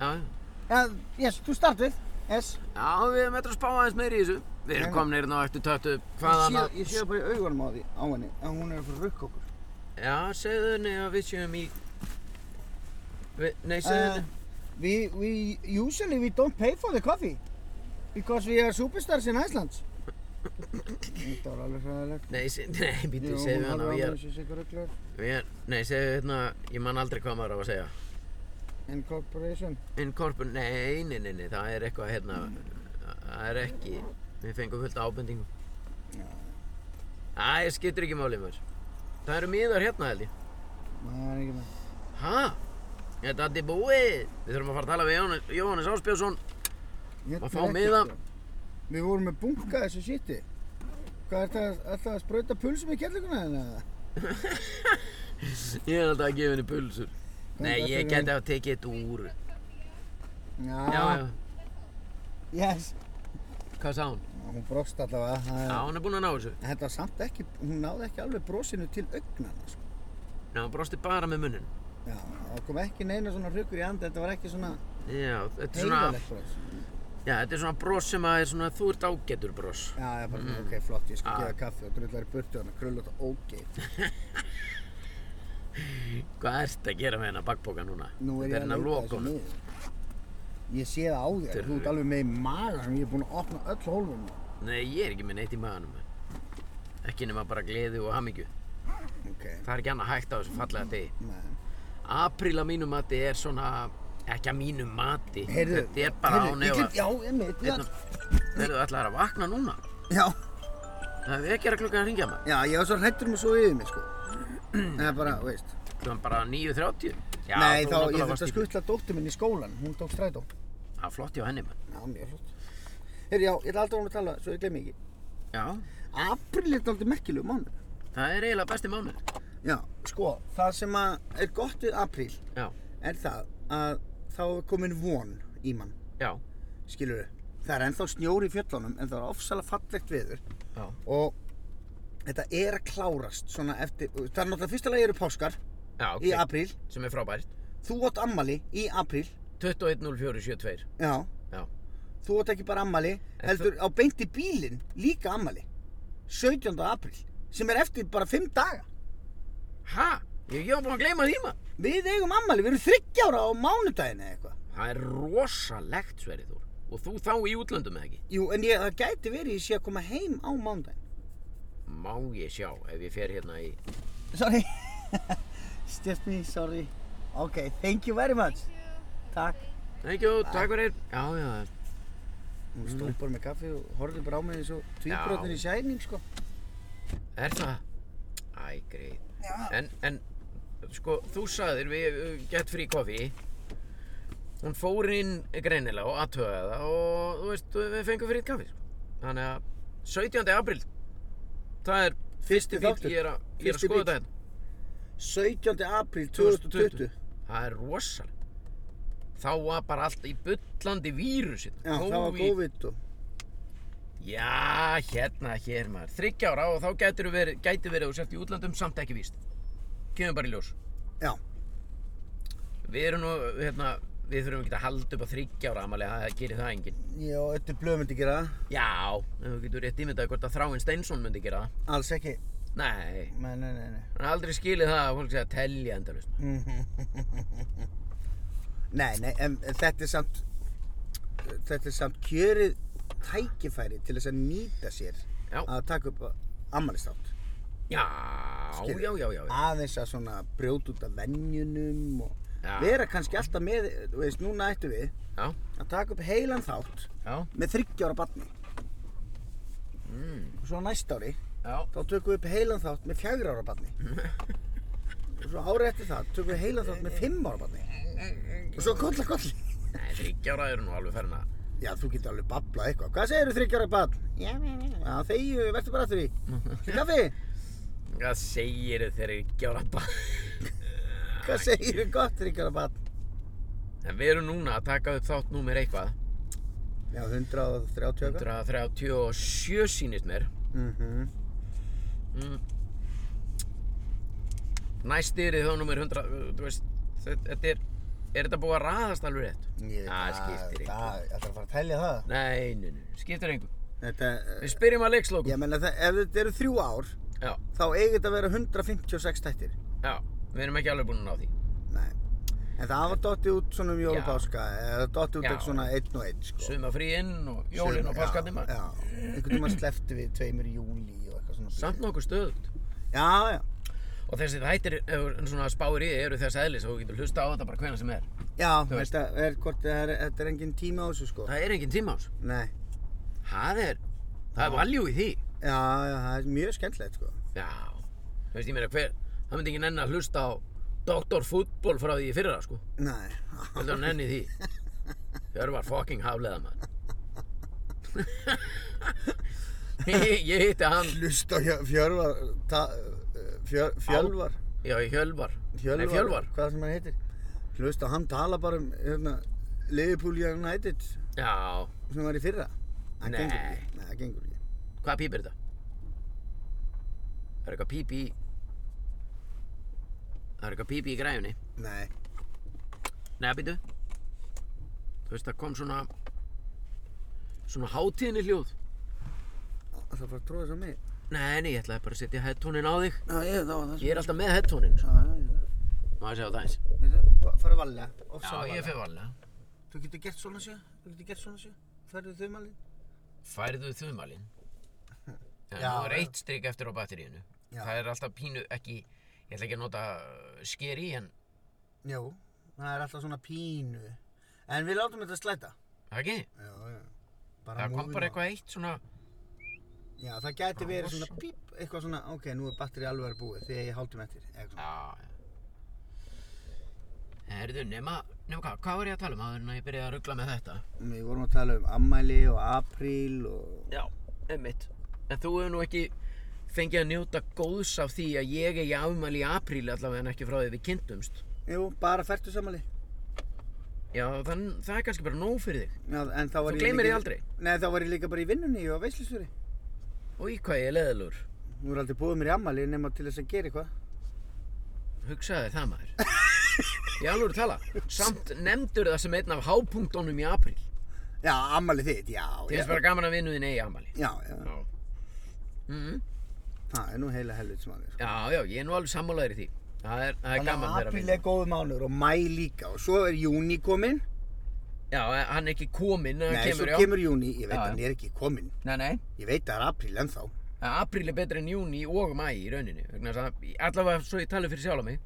Speaker 1: Já, já.
Speaker 2: Já, yes, þú start við Yes,
Speaker 1: Já, við erum eitthvað að spá aðeins meiri í þessu. Við erum
Speaker 2: Nei.
Speaker 1: komin hérna á eftir töttu
Speaker 2: ég
Speaker 1: hvað
Speaker 2: sé,
Speaker 1: annað.
Speaker 2: ég sé það bara í augunum á því á henni en hún er að fara að rukka okkur
Speaker 1: Já, segðu henni að við séum í... Við, nei, segðu
Speaker 2: Uh,
Speaker 1: henni.
Speaker 2: we we usually we don't pay for the coffee because we are superstars in Iceland. Þetta var alveg hræðilegt.
Speaker 1: Nei, se, nei býtu, segðu henni að við erum...
Speaker 2: erum.
Speaker 1: Við erum... Nei, segðu hérna... Ég man aldrei hvað maður á að segja.
Speaker 2: Incorporation.
Speaker 1: Incorpor... Nei, nei, nei, nei, það er eitthvað hérna... Það er ekki... Við fengum fullt af ábendingum. Æ, skiptir ekki máli maður. Það eru miðar hérna, held ég.
Speaker 2: Það er ekki með.
Speaker 1: Hæ? Þetta er búið. Við þurfum að fara að tala við Jóhannes, Jóhannes Áspjósson.
Speaker 2: Hérna
Speaker 1: Maður fá
Speaker 2: er ekki,
Speaker 1: miða.
Speaker 2: sko. Við vorum með bunga þessu shiti. Hvað er þetta alltaf að sprauta pulsum í kellinguna hérna?
Speaker 1: Ég er alltaf að gefa henni pulsur. Nei,
Speaker 2: þetta
Speaker 1: ég
Speaker 2: er
Speaker 1: geti að tekið þetta úr. Já, já,
Speaker 2: Yes.
Speaker 1: hvað sá hún?
Speaker 2: Hún brost allavega. það er-
Speaker 1: Já, hún er búin að ná þessu.
Speaker 2: Þetta samt ekki, hún náði ekki alveg brosinu til augnana, sko.
Speaker 1: Já, hún brosti bara með munnin.
Speaker 2: Já, það kom ekki neina svona hrugur í andi, þetta var ekki svona
Speaker 1: Já, þetta er svona,
Speaker 2: heiðalegt bros.
Speaker 1: já, þetta er svona bros sem að er svona, þú ert ágætur bros.
Speaker 2: Já, ég bara, ok, flott, ég skal
Speaker 1: Ah.
Speaker 2: gefa kaffi og drullar í burtu hann að krullu þetta ógeið.
Speaker 1: Hvað ert að gera með hennar bakpoka núna? hérna
Speaker 2: Nú er ég að
Speaker 1: hennar
Speaker 2: leita þessu
Speaker 1: lokunum.
Speaker 2: niður. Ég sé það á þér, þú ert
Speaker 1: Dyrri.
Speaker 2: alveg með í maga sem ég er búinn að opna öll hólfum.
Speaker 1: Nei, ég er ekki með neitt í maðanum. Ekki nema bara gleði og hamingju.
Speaker 2: Ok,
Speaker 1: Það er ekki annað hægt á þessu fallega degi.
Speaker 2: nei.
Speaker 1: Apríl að mínu mati er svona, ekki að mínu mati.
Speaker 2: Heyrðu,
Speaker 1: þetta er bara Hérna. á nefa.
Speaker 2: heyrðu, ég glimt- Já, ég mitt, já.
Speaker 1: Verðu allar að vakna núna?
Speaker 2: Já,
Speaker 1: Það er ekki að klukka að ringja maður.
Speaker 2: já, ég var svo hrættur um að svo yfir mig, sko. Það er bara, veist.
Speaker 1: Klukkan bara 9.30. Já,
Speaker 2: Nei,
Speaker 1: þú
Speaker 2: þá, ég
Speaker 1: náttúrulega
Speaker 2: þurfti að
Speaker 1: varst í-
Speaker 2: skutla dóttur minn í skólan, hún tók strætó.
Speaker 1: Það er flott hjá henni maður.
Speaker 2: Já, mjög flott. Heyrðu, já, ég ætla aldrei að tala, svo ég glem ekki.
Speaker 1: Já,
Speaker 2: April er aldrei merkilegu mánu.
Speaker 1: það er eiginlega besti mánuð.
Speaker 2: Já, sko, það sem að er gott við april
Speaker 1: Já,
Speaker 2: er það að þá er komin von í mann,
Speaker 1: já,
Speaker 2: skilur við. Það er ennþá snjór í fjöllunum en það er ofsalega fallegt viður
Speaker 1: já,
Speaker 2: og þetta er að klárast svona eftir, það er náttúrulega fyrsta lagi eru páskar
Speaker 1: já, ok.
Speaker 2: í april,
Speaker 1: Sem er frábært.
Speaker 2: þú átt ammali í april,
Speaker 1: 21.04.72.
Speaker 2: já,
Speaker 1: Já,
Speaker 2: þú átt ekki bara ammali,
Speaker 1: En
Speaker 2: heldur á beint í bílinn líka ammali, 17. april, sem er eftir bara 5 daga.
Speaker 1: hæ? Ég ég var búin að gleyma því maður.
Speaker 2: Við eigum ammali, við erum 30 ára á mánudaginn eða eitthvað.
Speaker 1: Það er rosalegt sverið þú. Og þú þá í útlöndum eða ekki?
Speaker 2: Jú, en ég, það gæti verið ég sé að koma heim á mándaginn.
Speaker 1: Má ég sjá ef ég fer hérna í...
Speaker 2: Sorry. Stefni, sorry. Ok, thank you very much. Takk.
Speaker 1: Thank you, takk fyrir. Já, já,
Speaker 2: Hún stóð bara með kaffi og horfði bara á mig eins og
Speaker 1: tvíbrotin
Speaker 2: tvíbrotin
Speaker 1: í
Speaker 2: í sæning, sko.
Speaker 1: er það? Ah. Æ, greið.
Speaker 2: Já.
Speaker 1: En, en, sko, þú sagðir við uh, Get Free Coffee. Hún fór inn greinilega og aðtöðaði það og, þú veist, við fengum fyrir kaffi, sko. Þannig að 17. apríl, það er fyrsti
Speaker 2: Fyrsti
Speaker 1: bíl,
Speaker 2: þáttur.
Speaker 1: ég er að, ég er að
Speaker 2: Fyrsti
Speaker 1: skoða
Speaker 2: bíll.
Speaker 1: þetta. hérna.
Speaker 2: 17. apríl 2020.
Speaker 1: Það er rosalegt. Þá var bara allt í bullandi vírusinn.
Speaker 2: Já, það var COVID sko. og...
Speaker 1: Já, hérna, hér maður. Þryggja ára og þá gætir verið, gæti verið þú sért í útlandum samt ekki víst. Kemum bara í ljós.
Speaker 2: Já,
Speaker 1: Við erum nú, hérna, við þurfum ekki að halda upp á þryggja ára amalega, það gerir það enginn.
Speaker 2: ég og Öttur Blöð myndi gera það.
Speaker 1: Já, en þú getur rétt ímyndað hvort að Þráinn Steinsson myndi gera það.
Speaker 2: Alls ekki.
Speaker 1: Nei,
Speaker 2: Nei, nei, nei, nei.
Speaker 1: hann er aldrei skilið það að fólk segja að telja endalust.
Speaker 2: Nei, nei, en þetta er samt... Þetta er samt kjörið tækifæri til þess að nýta sér
Speaker 1: Já.
Speaker 2: að taka upp ammælistátt.
Speaker 1: Já,
Speaker 2: Skilur.
Speaker 1: já, já, já, já.
Speaker 2: aðeins að svona brjóta út af venjunum og
Speaker 1: Já.
Speaker 2: vera kannski alltaf með, þú veist, núna ættum við
Speaker 1: Já,
Speaker 2: að taka upp heilan þátt
Speaker 1: já,
Speaker 2: með 30 ára barni
Speaker 1: mm,
Speaker 2: og svo á næsta ári
Speaker 1: já,
Speaker 2: þá tökum við upp heilan þátt með 4 ára barni og svo árið eftir það tökum við heilan þátt með 5 ára barni og svo kolla kolli
Speaker 1: nei, þryggja ára eru nú alveg farin að,
Speaker 2: Já, þú getur alveg bablað eitthvað. Hvað segirðu 30 ára barn? Já, já, já. Já, þegju, verður bara aftur í. Til kaffi?
Speaker 1: hvað segir þau þryggja ára bara?
Speaker 2: Hvað segirðu gott 30 ára barn?
Speaker 1: En við erum núna að taka upp þátt númer eitthvað
Speaker 2: Já, 130 ára.
Speaker 1: 137 sýnist mér
Speaker 2: Mhm.
Speaker 1: mm. Næst er þá númer 100 uh, Þú veist, þetta þetta er Er þetta búið að raðast alveg rétt?
Speaker 2: Ég-
Speaker 1: Það skiptir
Speaker 2: Það,
Speaker 1: engu
Speaker 2: það, ætlarðu að fara að telja það.
Speaker 1: Nei, nei, nei, skiptir engu
Speaker 2: Þetta,
Speaker 1: Við spyrjum að leikslokum
Speaker 2: ég menna það, ef þetta eru þrjú ár,
Speaker 1: Já,
Speaker 2: þá eigi þetta að vera 156 tættir.
Speaker 1: já, við erum ekki alveg búin að ná því
Speaker 2: Nei. En það hafa dottið út svona um
Speaker 1: Já.
Speaker 2: jólapáska, eða dottið út
Speaker 1: Já.
Speaker 2: eitthvað svona einn og einn, sko.
Speaker 1: Suma fríinn og jólinn og
Speaker 2: Sum- já,
Speaker 1: páskarnir maður
Speaker 2: Já, einhvern tíma sleppti við tveimur í júli og eitthvað svona.
Speaker 1: Samt nokkuð stöðugt
Speaker 2: Já, já.
Speaker 1: Og þessi þættir, ef þú svona spáir í því, eru þess eðlis og þú getur hlusta á þetta bara hvena sem er
Speaker 2: Já,
Speaker 1: veist.
Speaker 2: þetta er, hvort, það er, þetta er engin tíma á þessu, sko.
Speaker 1: Það er engin tíma ás
Speaker 2: Nei.
Speaker 1: Það er, það er valjú í því
Speaker 2: Já, já, það er mjög skemmtilegt, sko.
Speaker 1: Já, þú veist ég meina hver, það myndi ekki nenni að hlusta á doktorfútból frá því í fyrra sko,
Speaker 2: Nei.
Speaker 1: heldur hann nenni því. Fjör var fucking hafleða maður. ég, ég hitti hann,
Speaker 2: Hlust á Hjö- fjölvar, ta- fjör, fjölvar.
Speaker 1: já í Hjölvar,
Speaker 2: Fjölvar,
Speaker 1: nei Fjölvar,
Speaker 2: hvað sem hann heitir hlust að hann tala bara um hérna, Liverpool United
Speaker 1: Já,
Speaker 2: sem var í fyrra. Það
Speaker 1: Nei.
Speaker 2: gengur ekki. Nei, það gengur ekki.
Speaker 1: hvað píp er þetta? Það er eitthvað píp í... Það er eitthvað píp í græjunni.
Speaker 2: Nei.
Speaker 1: Nei, býtu. Þú veist, það kom svona... Svona hátíðinni hljóð.
Speaker 2: Það var að tróða þess að mig.
Speaker 1: Nei, nei, ég ætlaði bara að setja headtónin á þig.
Speaker 2: Já, ég, það var það
Speaker 1: Ég er alltaf með sko. headtónin.
Speaker 2: Já, já, ég það.
Speaker 1: Má ég segja það eins?
Speaker 2: Mér það, fara valja.
Speaker 1: Já, ég fyrir varlega.
Speaker 2: Þú getur gert svona sjö, þú getur gert svona sjö. Færðu þau malin?
Speaker 1: Færðu þumalinn. Já,
Speaker 2: Já,
Speaker 1: nú er
Speaker 2: já.
Speaker 1: eitt strik eftir á batteríinu.
Speaker 2: Já.
Speaker 1: Það er alltaf pínu ekki... Ég ætla ekki að nota uh, sker í, en...
Speaker 2: Jó, það er alltaf svona pínu. En við látum þetta slæta.
Speaker 1: Það ekki?
Speaker 2: Já, já. Bara
Speaker 1: Það kom
Speaker 2: moving
Speaker 1: bara
Speaker 2: on.
Speaker 1: eitthvað eitt svona...
Speaker 2: Já, það gæti
Speaker 1: Bara
Speaker 2: verið
Speaker 1: rosa.
Speaker 2: svona píp, eitthvað svona, ok, nú er batteri alveg að búið þegar ég hálftum eftir. eitthvað svona.
Speaker 1: Já, já. Herðu, nema, nema hvað, hvað var ég að tala um áður en að ég byrjaði að ruggla með þetta?
Speaker 2: Við vorum að tala um ammæli og apríl og...
Speaker 1: Já, einmitt. En þú hefur nú ekki fengið að njóta góðs af því að ég er í afmæli í apríli allavega en ekki frá því við kynntumst.
Speaker 2: Jú, bara færtu sammæli.
Speaker 1: Já, þann, það er kannski bara nóg fyrir þig.
Speaker 2: Já, en þá var
Speaker 1: Þú
Speaker 2: ég
Speaker 1: gleymir því
Speaker 2: líka-
Speaker 1: aldrei.
Speaker 2: Nei, þá var ég líka bara í vinnunni, ég var veislisveri.
Speaker 1: Og í hvað ég er leðalur.
Speaker 2: Nú er aldrei búið mér í ammæli nema til þess að gera eitthvað.
Speaker 1: Hugsaði það maður. Ég alveg að tala. Samt nefndur það sem einn af hápunktónum í apríl.
Speaker 2: Já, ammæli þitt, já,
Speaker 1: Ég
Speaker 2: já.
Speaker 1: er bara gaman að vinna þinn eigi afmæli.
Speaker 2: Já, já,
Speaker 1: Já. Mm
Speaker 2: það er nú heila helvits maður. sko.
Speaker 1: Já, já, ég er nú alveg sammálaður í því. Það er, það er gaman
Speaker 2: að
Speaker 1: þeirra
Speaker 2: apríl er góðu mánuður og mæ líka og svo er júni kominn.
Speaker 1: Já, en hann er ekki kominn, hann
Speaker 2: Nei,
Speaker 1: kemur,
Speaker 2: svo
Speaker 1: já.
Speaker 2: kemur júni, ég veit
Speaker 1: Já,
Speaker 2: að
Speaker 1: já.
Speaker 2: hann er ekki kominn.
Speaker 1: Nei, nei.
Speaker 2: Ég veit að það er apríl ennþá.
Speaker 1: En Eh, apríl er betri en júni og mæ í rauninu. Vegna þess að, allavega svo ég tala fyrir sjálf mig.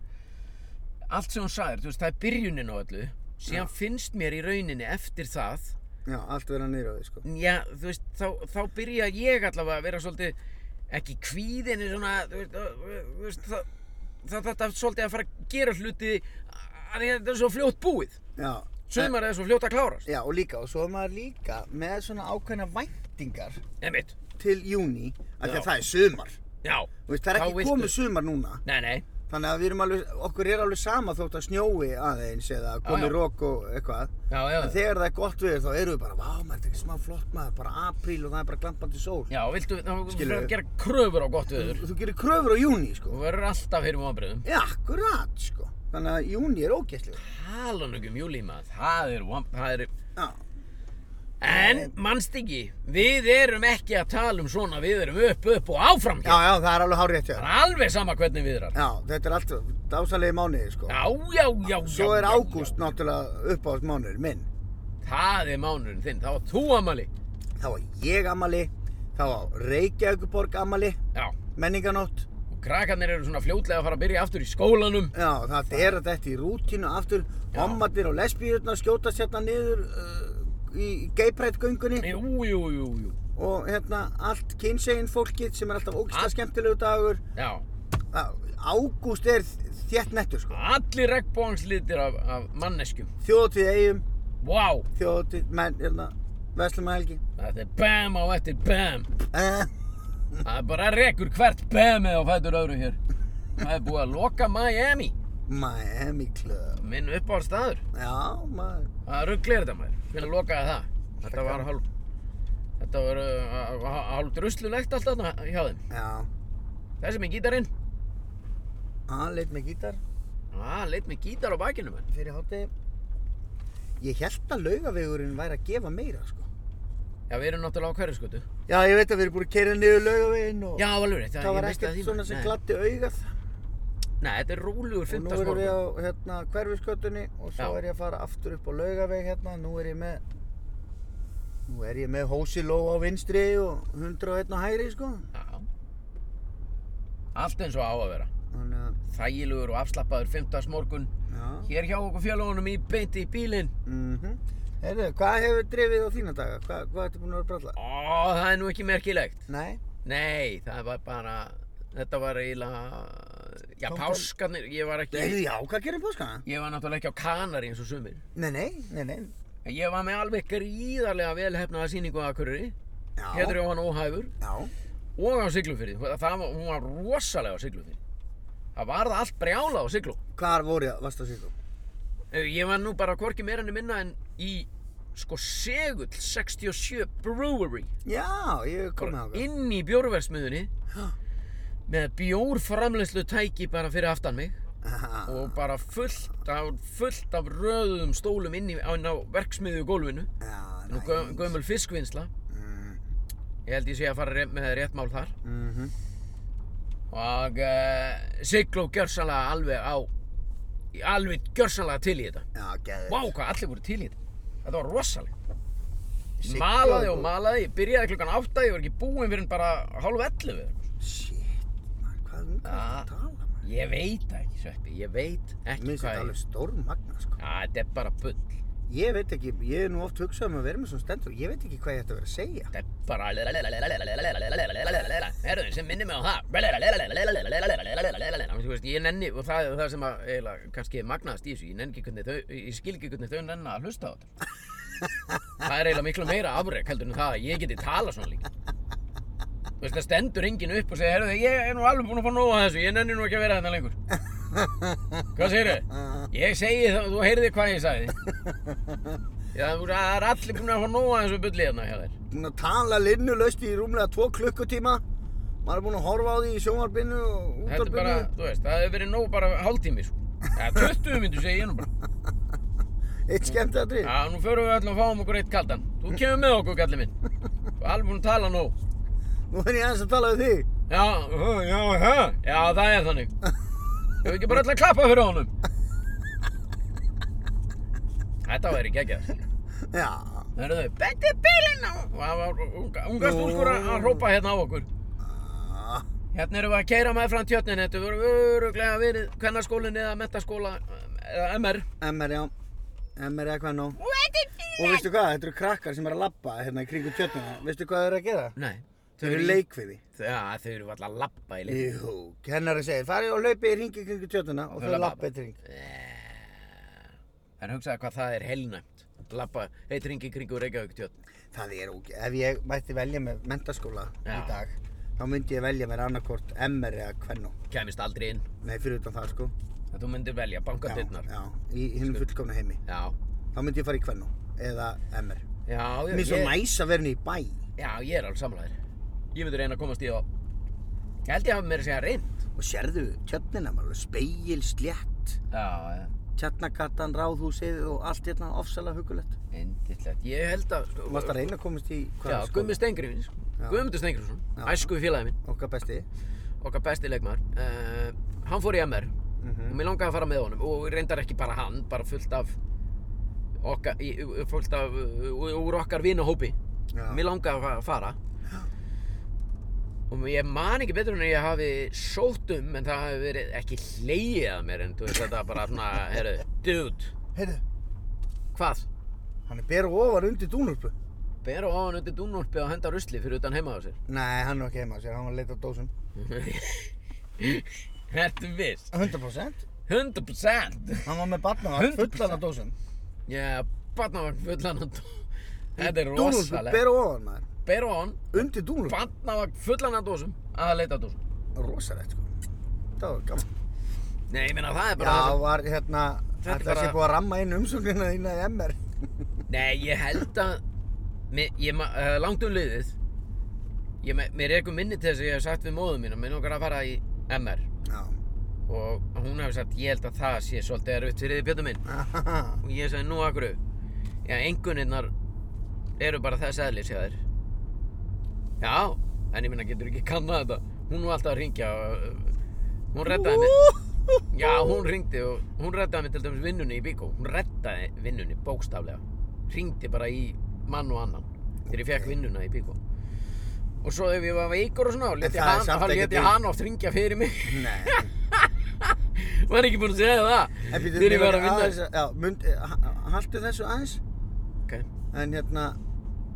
Speaker 1: Allt sem hún sagðir, þú veist, það er byrjunin á öllu. Síðan finnst mér í rauninni eftir það.
Speaker 2: Já, allt verður að neyra á því, sko.
Speaker 1: Já, þú veist, þá, þá byrja ég allavega að vera svolítið, ekki kvíðin, en svona, þú veist, ö, ö, þú veist það, það, það, það svolítið að fara að gera hluti að þetta er svo fljótt búið.
Speaker 2: Já.
Speaker 1: Sumar er svo fljótt að klárast.
Speaker 2: Já, og líka, og svo er maður líka með svona ákveðna væntingar
Speaker 1: Einmitt.
Speaker 2: til júni, af því
Speaker 1: Já.
Speaker 2: að það er sumar.
Speaker 1: Já.
Speaker 2: Þú veist, það er
Speaker 1: Þá
Speaker 2: ekki
Speaker 1: viltu-
Speaker 2: komið sumar núna.
Speaker 1: Nei, nei.
Speaker 2: Þannig að við erum alveg, okkur er alveg sama þótt að snjói aðeins eða
Speaker 1: já.
Speaker 2: komið rók og eitthvað.
Speaker 1: Já, já.
Speaker 2: En þegar það er gott veður þá erum við bara, vá, maður, þetta er ekki smá flott maður, bara apríl og það er bara glampandi sól.
Speaker 1: Já, viltu, þá fyrir
Speaker 2: Skilurðu?
Speaker 1: að gera kröfur á gott viður.
Speaker 2: Þú gerir kröfur á júni,
Speaker 1: Þú
Speaker 2: sko.
Speaker 1: verður alltaf fyrir vonbröðum.
Speaker 2: Já, akkurat, sko. Þannig að júni er ógæstlegur.
Speaker 1: Tala nú ekki um júli, maður. Það er von, það er...
Speaker 2: Já,
Speaker 1: En, mannst ekki, við erum ekki að tala um svona, við erum upp, upp og áfram
Speaker 2: já,
Speaker 1: hér.
Speaker 2: já, það er alveg hárið eftir
Speaker 1: Það
Speaker 2: það.
Speaker 1: er alveg sama hvernig við erum.
Speaker 2: Já, þetta er allt dásalegi mánuði, sko.
Speaker 1: Já, já, já, já.
Speaker 2: Svo er
Speaker 1: já,
Speaker 2: ágúst
Speaker 1: já.
Speaker 2: náttúrulega uppáðast mánuður minn.
Speaker 1: Það er mánurinn þinn, þá var þú amali.
Speaker 2: þá var ég ammali, þá var Reykjavíkuborg ammali,
Speaker 1: Já,
Speaker 2: menninganótt.
Speaker 1: og krakkarnir eru svona fljótlega að fara að byrja aftur í skólanum.
Speaker 2: Já, það er að þetta í rútínu aftur, hommarnir og lesbíurnar skjótast hérna niður uh, í geiprætgöngunni
Speaker 1: Jú, jú, jú, jú.
Speaker 2: og hérna allt kynsegin fólkið sem er alltaf ógislega skemmtilegu dagur.
Speaker 1: Já,
Speaker 2: Á- Ágúst er þétt nettur sko.
Speaker 1: allir regnbóðanslitir af, af manneskjum.
Speaker 2: Þjóðatíð eigum,
Speaker 1: Vá,
Speaker 2: þjóðatíð, menn, hérna, Veslum að helgi.
Speaker 1: þetta er bam á eftir bam.
Speaker 2: Eh,
Speaker 1: Það er bara rekur hvert bemið á fætur öðru hér. Það er búið að loka Miami,
Speaker 2: Miami Club.
Speaker 1: minn uppáhaldstaður.
Speaker 2: Já, maður.
Speaker 1: Það rugglir þetta maður, minn að lokaði það. Þetta var hálf, þetta var uh, hálf druslulegt allt þarna hjá þeim.
Speaker 2: Já,
Speaker 1: Þessi með gítarinn,
Speaker 2: hann leitt með gítar.
Speaker 1: það leitt Ah, með gítar á bakinu maður.
Speaker 2: fyrir hátegi ég held að laugavegurinn væri að gefa meira sko.
Speaker 1: Já, við erum náttúrulega á hverjaskötu.
Speaker 2: já ég veit að við erum búin að kerja niður laugaveginn og
Speaker 1: Já, alveg rétt,
Speaker 2: það,
Speaker 1: ég
Speaker 2: var
Speaker 1: missti af
Speaker 2: ekkert
Speaker 1: því,
Speaker 2: svona
Speaker 1: maður.
Speaker 2: sem
Speaker 1: Nei.
Speaker 2: glatti augað
Speaker 1: Nei, þetta er rólugur
Speaker 2: og nú erum
Speaker 1: fimmtagsmorgun.
Speaker 2: við
Speaker 1: Á...
Speaker 2: á hérna, hverfiskötunni og svo
Speaker 1: Já.
Speaker 2: er ég að fara aftur upp á laugaveg hérna nú er ég með nú er ég með hósiló á vinstri og 101 á hægri sko
Speaker 1: Já. Allt eins og á að vera.
Speaker 2: þannig að
Speaker 1: Þægilegur og afslappaður fimmtagsmorgun.
Speaker 2: já
Speaker 1: Hér hjá okkur fjölugunum í beinti í bílinn.
Speaker 2: mhm Heyrðu, hvað hefur drifið á þína daga? Hvað, hvað ertu búin að vera að bralla?
Speaker 1: Ó, það er nú ekki merkilegt.
Speaker 2: Nei,
Speaker 1: Nei, það var bara, þetta var eiginlega, já,
Speaker 2: Tók-
Speaker 1: páskarnir, ég var ekki,
Speaker 2: Heyrðu, já, hvað gerir páskana?
Speaker 1: ég var náttúrulega ekki á Kanari eins og sumir.
Speaker 2: Nei, nei, nei, nei.
Speaker 1: En Ég var með alveg gríðarlega velhefnaða sýningu á Akureyri,
Speaker 2: Já,
Speaker 1: Pétur Jóhann Óhæfur,
Speaker 2: já.
Speaker 1: og á Siglufyrði, það var, hún var rosalega á Siglufyrði. Það varð allt brjála á Siglu.
Speaker 2: Hvar voru ég, varst það síðan?
Speaker 1: Eh, Ég var nú bara hvorki meira enn minna en í sko segull 67 Brewery
Speaker 2: Já, ég hef komið
Speaker 1: bara
Speaker 2: ákvæm.
Speaker 1: inn í bjórversmiðunni með bjórframleyslu tæki bara fyrir aftan mig og bara fullt af, fullt af röðum stólum inn, í, inn á verksmiðju gólfinu
Speaker 2: Já,
Speaker 1: nú gö- gömul fiskvinnsla ég held ég sé að fara ré- með rétt mál þar
Speaker 2: Mhm.
Speaker 1: og uh, Sigló gjörsalega alveg á alveg gjörsalega til í þetta
Speaker 2: Já, geður.
Speaker 1: Vá, hvað allir voru til í þetta. Þetta var rosalega.
Speaker 2: Sigga
Speaker 1: Malaði og
Speaker 2: og-
Speaker 1: malaði, ég byrjaði klukkan átta, ég var ekki búinn fyrir en bara hálf 11.
Speaker 2: Shit, man, hvað um hvað
Speaker 1: Ah.
Speaker 2: það tala, man.
Speaker 1: Ég veit það ekki, Sveppi, ég veit ekki
Speaker 2: Mér finnst
Speaker 1: hvað
Speaker 2: þetta alveg stórmagna, sko.
Speaker 1: Já, þetta er bara bull.
Speaker 2: Ég veit ekki, ég er nú oft hugsað um að vera með svona stendur, ég veit ekki hvað ég ætti að vera að segja.
Speaker 1: Þetta er bara... Herðu, sem minnir mig á það. Þú veist, Ég nenni, og það er það sem að, eiginlega, kannski magnaðast í þessu, ég nenni ekki hvernig þau, ég skil ekki hvernig þau nenni að hlusta á þetta. Það er eiginlega miklu meira afrek heldur en það að ég geti talað svona líka. Þú veist, það stendur enginn upp og segir, herðu, ég er nú alveg búinn að fá nóga þessu, ég nenni nú ekki að vera þetta lengur. Hvað segir þau? Ég segi það, þú heyrði hvað ég sagði. Já, þú veist, það er allir búin að fá nóga þessu bulli hérna hjá þér.
Speaker 2: Búin að tala linnulaust í rúmlega tvo klukkutíma, maður er búin að horfa á því í sjónvarpinu og
Speaker 1: Þetta er
Speaker 2: útvarpinu.
Speaker 1: bara, þú veist, það hefur verið nóg bara hálftími, sko. Ja, 20 myndu segi ég nú bara.
Speaker 2: Eitt skemmt aðri.
Speaker 1: Já, nú förum við öll og fáum okkur eitt kaldan. Þú kemur með okkur, kallið minn. Þú er alveg búinn að tala nóg.
Speaker 2: Nú er ég aðeins að tala við þig.
Speaker 1: Já, hö, já, hö. Já, það er þannig. Þau ekki bara öll að klappa fyrir honum. Þetta væri geggjað.
Speaker 2: Já.
Speaker 1: Það eru þau, bendi bílinn á. Og það var unga, unga stúlkur að að hrópa hérna á okkur.
Speaker 2: Ah,
Speaker 1: Hérna erum við að keira með fram tjötnin. Þetta voru öruglega verið kvennaskólinn eða mentaskóla, eða MR.
Speaker 2: MR, já. MR eða hvað nú. Og veistu hvað, þetta eru krakkar sem er að labba hérna í kringum tjötnuna. Veistu hvað þau eru að gera?
Speaker 1: Nei.
Speaker 2: Þau eru leikfiði.
Speaker 1: Já, þau eru alltaf að lappa í leiknum.
Speaker 2: Jú, kennari segir, farið og laupið í ringi kringum tjötnuna og
Speaker 1: Þau
Speaker 2: þau
Speaker 1: labba
Speaker 2: labba eitt ring.
Speaker 1: Eh. En hugsaðu hvað það er heilnæmt. Lappa eitt ringi kringu Reykjavík tjótt.
Speaker 2: Það er ok. Ef ég mætti velja með mentaskóla í
Speaker 1: Já.
Speaker 2: dag, þá myndi ég velja mér annarkvort MR eða hvernu.
Speaker 1: Kæmist aldrei inn.
Speaker 2: Nei, fyrir utan það sko.
Speaker 1: En Þú myndir velja bankatilnar.
Speaker 2: Já, já, í hinnum fullkomna heimi.
Speaker 1: Já.
Speaker 2: Þá myndi ég fara í hvernu eða MR.
Speaker 1: Já, já,
Speaker 2: Mér er svo
Speaker 1: ég,
Speaker 2: næs að vera henni í bæ.
Speaker 1: já, ég er alveg samlæðir. Ég myndi reyna að komast í það. Ég held ég hafa meira að segja reynd.
Speaker 2: Og sérðu tjötnina, maður alveg speil, slétt.
Speaker 1: Já, já.
Speaker 2: Tjarnagatan, ráðhúsið og allt hérna ofsalega hugulegt.
Speaker 1: Indislegt. Ég held að...
Speaker 2: Þú varst að reyna að komast í
Speaker 1: Já,
Speaker 2: hvaða
Speaker 1: Gummi Stengriðins.
Speaker 2: Já.
Speaker 1: Guðmundur Stengriðsson.
Speaker 2: Já.
Speaker 1: Æsku félagi minn.
Speaker 2: Okkar besti.
Speaker 1: Okkar besti leikmaður. Uh, hann fór í MR. og
Speaker 2: Mhm.
Speaker 1: mér langaði að fara með honum og reyndar ekki bara hann, bara fullt af okkar, í- í- fullt af uh, úr okkar vinahópi
Speaker 2: Já.
Speaker 1: mér langaði að fa- fara og ég man ekki betur en að ég hafi sótt um en það hafi verið ekki hlegið að mér en þú veist þetta bara svona, herru, dude
Speaker 2: Heyrðu,
Speaker 1: hvað?
Speaker 2: hann er bera ofar undir dúnurpu.
Speaker 1: Bera ofan undir dúnúlpi og henda rusli fyrir utan heima á sér
Speaker 2: Nei, hann er ekki heima á sér, hann var að leita á dósum.
Speaker 1: Þetta er viss
Speaker 2: 100%.
Speaker 1: 100%
Speaker 2: Hann var með barnavagn fullan á dósum.
Speaker 1: Já, barnavagn fullan og dú- Þetta er
Speaker 2: Dúnurpu
Speaker 1: rosalega
Speaker 2: bera ofar maður.
Speaker 1: Bera ofan
Speaker 2: Undir dúnurpu.
Speaker 1: bandnavagn fullan af dósum að leita að dósum.
Speaker 2: Rosalegt sko. Það var gaman.
Speaker 1: Nei, ég meina það er bara
Speaker 2: Já,
Speaker 1: það
Speaker 2: var hérna,
Speaker 1: Þetta er
Speaker 2: ætla að
Speaker 1: bara-
Speaker 2: sé búið að ramma inn umsóknina þína í MR.
Speaker 1: sem... Nei, ég held að... Mér, ég, ma- eh, langt um liðið. Ég, me- mér er eitthvað minni til þess að ég hef sagt við móðum mína, minn okkar að fara í MR.
Speaker 2: Já.
Speaker 1: Og hún hefði sagt, ég held að það sé svolítið erfitt fyrir því Björnum minn. Og ég sagði, nú akkur Já, engunirnar eru bara þess eðlis hjá þér. Já, en ég minna, getur ekki kannað þetta. Hún var alltaf að ringja og... eh, Hún reddaði mér. Já, hún ringdi og hún reddaði mér til dæmis vinnunni í Bíkó. Hún reddaði vinnunni bókstaflega. Ringdi bara í mann og annan þegar ég fekk vinnuna í Bíkó. Og svo ef ég var veikur og svona, þá lét ég
Speaker 2: það er
Speaker 1: hann-
Speaker 2: samt
Speaker 1: þá lét
Speaker 2: ekkert
Speaker 1: ég
Speaker 2: í-
Speaker 1: hann oft ringja fyrir mig.
Speaker 2: Nei.
Speaker 1: Var ekki búinn að segja það.
Speaker 2: En býtum
Speaker 1: Þegar ég var að vinna.
Speaker 2: Aðeins, já, mynd, haldu þessu aðeins.
Speaker 1: Ok,
Speaker 2: En hérna,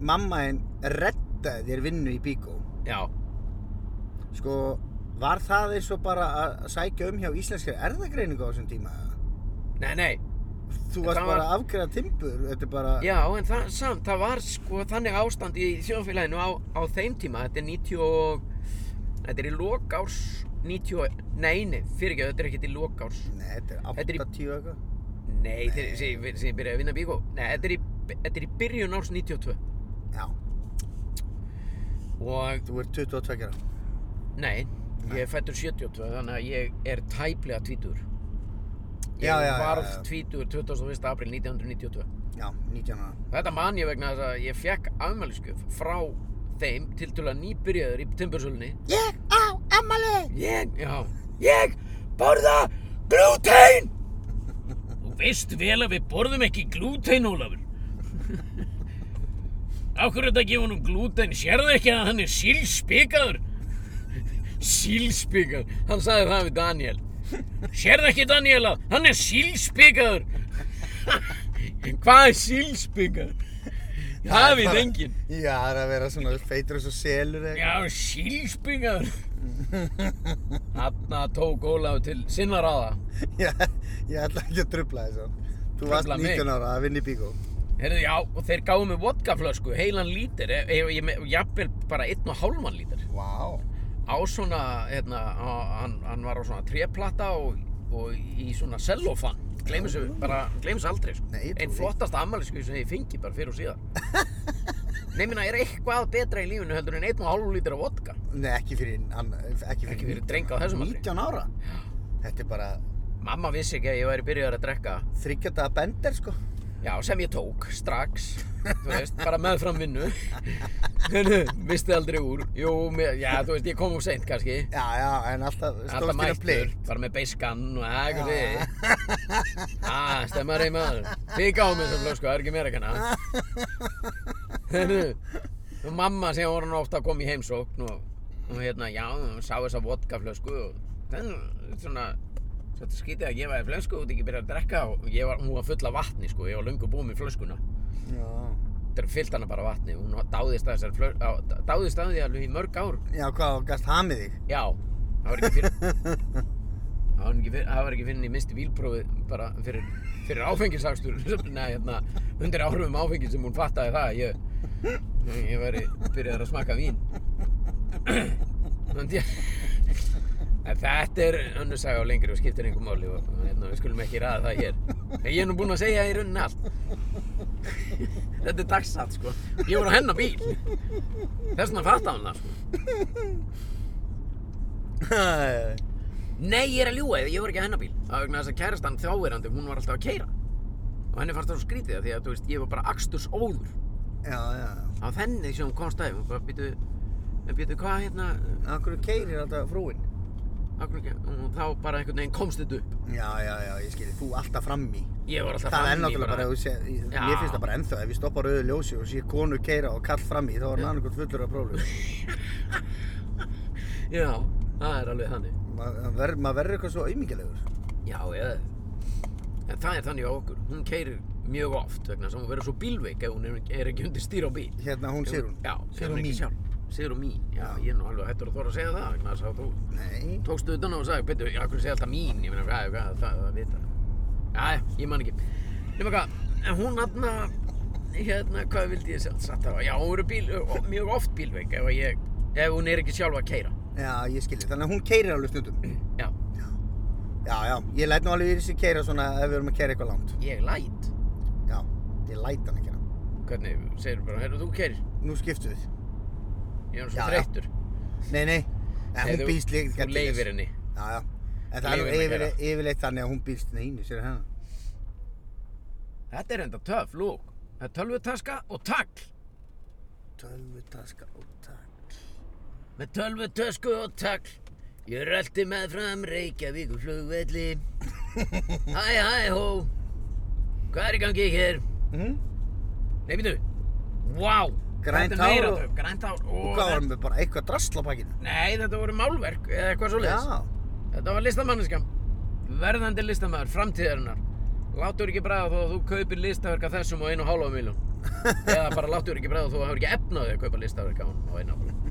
Speaker 2: mamma einn reddaði þér vinnu í Bíkó.
Speaker 1: já.
Speaker 2: Sko, var það eins og bara að sækja um hjá íslenskri erðagreiningu á þessum tíma?
Speaker 1: Nei, nei.
Speaker 2: Þú
Speaker 1: Þetta
Speaker 2: varst
Speaker 1: var-
Speaker 2: bara að afgreða timbur, þetta er bara...
Speaker 1: Já, en það, samt, það var sko þannig ástand í þjóðfélaginu á, á þeim tíma, þetta er 90 og, þetta er í lokárs 90, og- nei, nei, fyrirgjöðu, þetta er ekkert í lokárs,
Speaker 2: Nei, þetta er
Speaker 1: Þetta er í-
Speaker 2: 80 eitthvað.
Speaker 1: Nei, þegar sem ég- sem ég byrjaði að vinna bíkó. Nei, þetta er, í, þetta er í byrjun árs 92.
Speaker 2: Já,
Speaker 1: Og,
Speaker 2: þú ert 22 ára.
Speaker 1: nei, ég er fættur 72, þannig að ég er tæplega tvítur. Ég
Speaker 2: Já, já, já,
Speaker 1: varð
Speaker 2: já.
Speaker 1: tvítur 21. april 1992.
Speaker 2: Já, 19 ára.
Speaker 1: Þetta man ég vegna þess að ég fekk afmælisgjöf frá þeim til til að nýbyrjaður í timbursölunni.
Speaker 2: Ég á ammali!
Speaker 1: Ég, já, ég borða glútein! Þú veist vel að við borðum ekki glútein, Ólafur. Akkur er þetta að gefa honum glútein? Sérðu ekki að hann er sílspikaður? Sílspikaður, hann sagði það við Daniel. Sérðu ekki Daniel að hann er sílspikaður? Hvað er sílspikaður? Það veit enginn.
Speaker 2: Já, það er að vera svona feitur eins og selur eða
Speaker 1: Já, sílspingaður Þarna tók Ólaf til sinna ráða
Speaker 2: eitthvað. Já, ég ætla ekki að trubla þessu. Þú varst
Speaker 1: Trufla mig.
Speaker 2: 19 ára að vinna í bíkó.
Speaker 1: Heyrðu, já, og þeir gáðu mig vodkaflösku, heilan lítir e, e, e, Jafnvel bara einn og hálfan lítir
Speaker 2: Vá. Wow.
Speaker 1: Á svona, hérna, á, hann, hann var á svona tréplata og, og í svona sellofan Gleimis, bara, gleimis aldrei, sko
Speaker 2: Nei, ég trúi
Speaker 1: Einn
Speaker 2: því.
Speaker 1: flottasta ammælisku sem ég fengi bara fyrir og síðar Nei, minna, er eitthvað betra í lífinu heldur en einn og hálfan lítir af vodka
Speaker 2: Nei, ekki fyrir, hann, ekki fyrir,
Speaker 1: Ekki fyrir dreng á þessum aldri.
Speaker 2: 19 ára? Þetta er bara
Speaker 1: Mamma vissi ekki að ég væri byrjaður að drekka
Speaker 2: þryggjadaða bender, sko.
Speaker 1: Já, sem ég tók, strax, þú veist, bara meðfram vinnu, Heyrðu, misti aldrei úr, jú, mér, já, þú veist, ég kom úr seint kannski,
Speaker 2: Já, já, en alltaf
Speaker 1: alltaf
Speaker 2: stóðst þína
Speaker 1: mættur,
Speaker 2: plið.
Speaker 1: bara með beiskann og eitthvað því, ah, stemmar í maður, þið gáðum þessum flösku, sko, það er ekki meira kannar, hérna, og mamma sem var hann ofta að koma í heimsókn og, og hérna, já, hún sá þessa vodkaflösku og, þannig, svona, Svolítið skrítið að ég var í flösku og ekki byrjaði að drekka og ég var, hún var full af vatni sko, ég var löngu búin með flöskuna.
Speaker 2: Já.
Speaker 1: Þetta fyllt hana bara vatni, hún dáðist að þessar flör, á, dáðist að því alveg í mörg ár.
Speaker 2: Já, hvað, og gast hamið þig?
Speaker 1: Já, það var ekki fyrir, það var ekki fyrir, það var ekki fyrir í minnsti bílprófi bara fyrir, fyrir áfengisakstur, neða hérna, undir áhrifum áfengis sem hún fattaði það, að ég, ég væri byrjaður að smakka vín. Þannig ég, en þetta er önnur saga á lengri og skiptir einhver máli og hérna, við skulum ekki ræða það hér. En ég er nú búinn að segja í rauninni allt. Þetta er dagsatt sko. Ég voru á hennar bíl. Þess vegna fattaði hún það sko. Nei, ég er að ljúa, ég var ekki að hennar bíl. Það var vegna þess að kærastan þjáverandi, hún var alltaf að keira. Og henni fannst það svo skrítið af því að, þú veist, ég var bara aksturs óður.
Speaker 2: já, já.
Speaker 1: Á þenni sem hún komst aðeins, hún bara býtu, býtu, hvað hérna,
Speaker 2: Akkur keirir alltaf frúin?
Speaker 1: akkur ekki, og þá bara einhvern veginn komst þetta upp.
Speaker 2: Já, já, já, ég skilji, þú alltaf fram í.
Speaker 1: Ég var alltaf
Speaker 2: Það er
Speaker 1: fram í
Speaker 2: náttúrulega bara, bara sé, ég,
Speaker 1: Já.
Speaker 2: mér finnst það bara ennþá, ef ég stoppa á rauðu ljósi og sé konu keira og kall fram í, þá er hann annarkot fullur af próflum.
Speaker 1: Já, það er alveg þannig.
Speaker 2: Maður ver, maður verður eitthvað svo auðmingalegur.
Speaker 1: Já, ég, en það er þannig á okkur. Hún keirir mjög oft vegna þess að hún verður svo bílveik ef hún er, er ekki undir stýra á bíl.
Speaker 2: Hérna, hún sér hún.
Speaker 1: Já,
Speaker 2: sér
Speaker 1: ef
Speaker 2: hún
Speaker 1: ekki
Speaker 2: mín.
Speaker 1: sjálf. Sigur mín, já,
Speaker 2: Já.
Speaker 1: ég er nú alveg hættur að þóra að segja það vegna þess að þú
Speaker 2: Nei.
Speaker 1: tókstu utan á og sagði, betur, já, hvernig segja alltaf mín, ég meina, hvað, hvað, það, það vita. Jæja, ég man ekki. Nefnum hvað, en hún aðna, hérna, hvað vildi ég segja, satt það, já, hún eru bíl, ó, mjög oft bílveik ef, að ég, ef hún er ekki sjálf að keira.
Speaker 2: Já, ég skilji, þannig að hún keirir alveg stundum.
Speaker 1: Já,
Speaker 2: Já, já, ég læt nú alveg í þessi keira svona ef við erum að keira eitthvað langt.
Speaker 1: ég læt.
Speaker 2: Já, ég læt hann ekki hann.
Speaker 1: Hvernig, segir bara, heyrðu, þú keirir,
Speaker 2: Nú skiptu við.
Speaker 1: ég er nú
Speaker 2: Já,
Speaker 1: svo
Speaker 2: já.
Speaker 1: þreyttur.
Speaker 2: Nei, nei, en
Speaker 1: Nei,
Speaker 2: hún
Speaker 1: þú-
Speaker 2: býst líka
Speaker 1: Þú leifir henni.
Speaker 2: Já, já. En það er nú
Speaker 1: Leyfir henni að
Speaker 2: yfirleitt,
Speaker 1: gera.
Speaker 2: yfirleitt þannig að hún býst neini, sér hérna.
Speaker 1: Þetta er enda töff, lúk. Það er tölvutaska og tagl.
Speaker 2: Tölvutaska og takk.
Speaker 1: Með tölvutösku og tagl Ég rölti með fram Reykjavíkur flugvelli Hæ, hæ, hó Hvað er í gangi hér?
Speaker 2: Mhm.
Speaker 1: Nei, býtu Vá,
Speaker 2: Grænt
Speaker 1: þetta er meira
Speaker 2: hár og-
Speaker 1: þau, Grænt hár og
Speaker 2: Hvað varum við bara eitthvað drasl á pakkinu?
Speaker 1: Nei, þetta voru málverk eða eitthvað svoleiðis
Speaker 2: Já.
Speaker 1: Þetta var listamanniska Verðandi listamæður, framtíðarinnar Láttur ekki bræða þó að þú kaupir listaverk af þessum á einu og hálfa miljón Eða bara láttur ekki bræða þó að þú hefur ekki efnaði að kaupa listaverk á hann á einu og hálfa miljón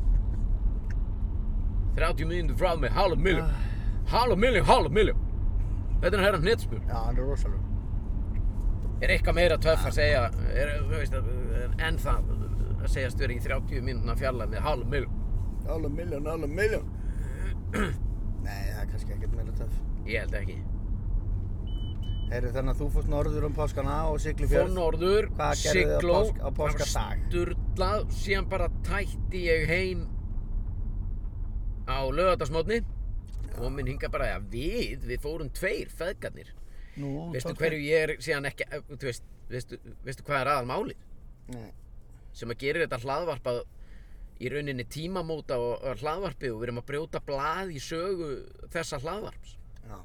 Speaker 1: 30 mínútur frá mig, hálfa miljón Hálfa miljón, hálfa miljón Þetta er hérna hnitspjör
Speaker 2: Já, hann er rosalur.
Speaker 1: Er eitthvað meira töff að segja er, þú veist, að- en það að segja störi í 30 mínútna fjarlæð með hálfa miljón
Speaker 2: Alveg miljón, alveg miljón. Nei, það er kannski ekkert meira töff.
Speaker 1: Ég held ekki
Speaker 2: Herru, þannig að þú fórst norður um páskana og
Speaker 1: Fór
Speaker 2: Siglufjörð.
Speaker 1: norður,
Speaker 2: Hvað gerðuð þið á
Speaker 1: sigló,
Speaker 2: pásk- á páskadag?
Speaker 1: sturlað, síðan bara tætti ég heim á lögadagsmótni. Komin hinga bara, ja, við, við fórum tveir feðgarnir.
Speaker 2: Nú,
Speaker 1: Veistu
Speaker 2: tókstu-
Speaker 1: hverju ég er síðan ekki, eh, þú veist, veistu, veistu hvað er aðal málið?
Speaker 2: Nei.
Speaker 1: Sem að gerir þetta hlaðvarpað í rauninni tímamóta og og hlaðvarpi og við erum að brjóta blað í sögu þessa hlaðvarps.
Speaker 2: Já.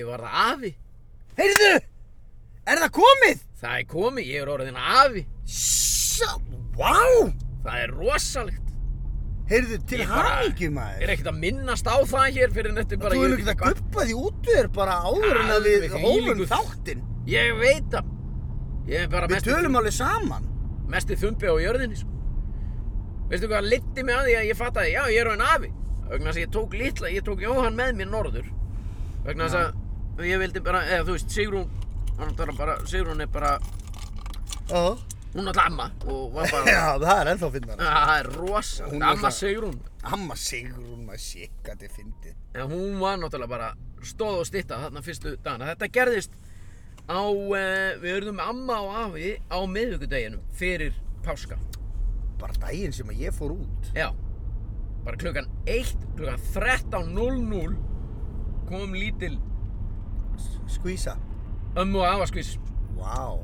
Speaker 1: Ég var það afi.
Speaker 2: Heyrðu! Er það komið?
Speaker 1: Það er komið, ég er orðin afi.
Speaker 2: Sá, vá!
Speaker 1: Það er rosalegt.
Speaker 2: Heyrðu, til
Speaker 1: Ég bara-
Speaker 2: hamingju
Speaker 1: Er
Speaker 2: maður.
Speaker 1: ekkert að minnast á það hér fyrir nettu bara
Speaker 2: Þú
Speaker 1: ég
Speaker 2: hefur
Speaker 1: veit
Speaker 2: ekkert að
Speaker 1: hvað-
Speaker 2: guppa því út við þér bara áður en að við
Speaker 1: Alveg
Speaker 2: hófum
Speaker 1: þvílíkur-
Speaker 2: þáttinn.
Speaker 1: Ég veit það. Ég er bara
Speaker 2: Við
Speaker 1: mesti,
Speaker 2: tölum alveg saman.
Speaker 1: mesti þumbi á jörðinni, sko. Veistu hvað litti mig að því að ég fattaði, já, ég er orðin afi. Vegna þess að ég tók litla, ég tók Jóhann með mér norður. Vegna þess að ég vildi bara, eða þú veist, Sigrún, hann var bara, Sigrún er bara,
Speaker 2: Já.
Speaker 1: hún er alltaf amma og var bara,
Speaker 2: Já, það er ennþá fyndana.
Speaker 1: það er
Speaker 2: Hún
Speaker 1: rosalegt,
Speaker 2: er
Speaker 1: amma
Speaker 2: það-
Speaker 1: Sigrún.
Speaker 2: Amma Sigrún maður sikk að þið fyndið.
Speaker 1: En hún var náttúrulega bara stóð og stitta þarna fyrstu dagana. Þetta gerðist á, eh, við urðum amma og afi á miðvikudeginum fyrir páska.
Speaker 2: Bara daginn sem að ég fór út.
Speaker 1: Já, bara klukkan 1, klukkan 13.00 kom lítil
Speaker 2: Skvísa.
Speaker 1: ömmu og afaskvís.
Speaker 2: Vá.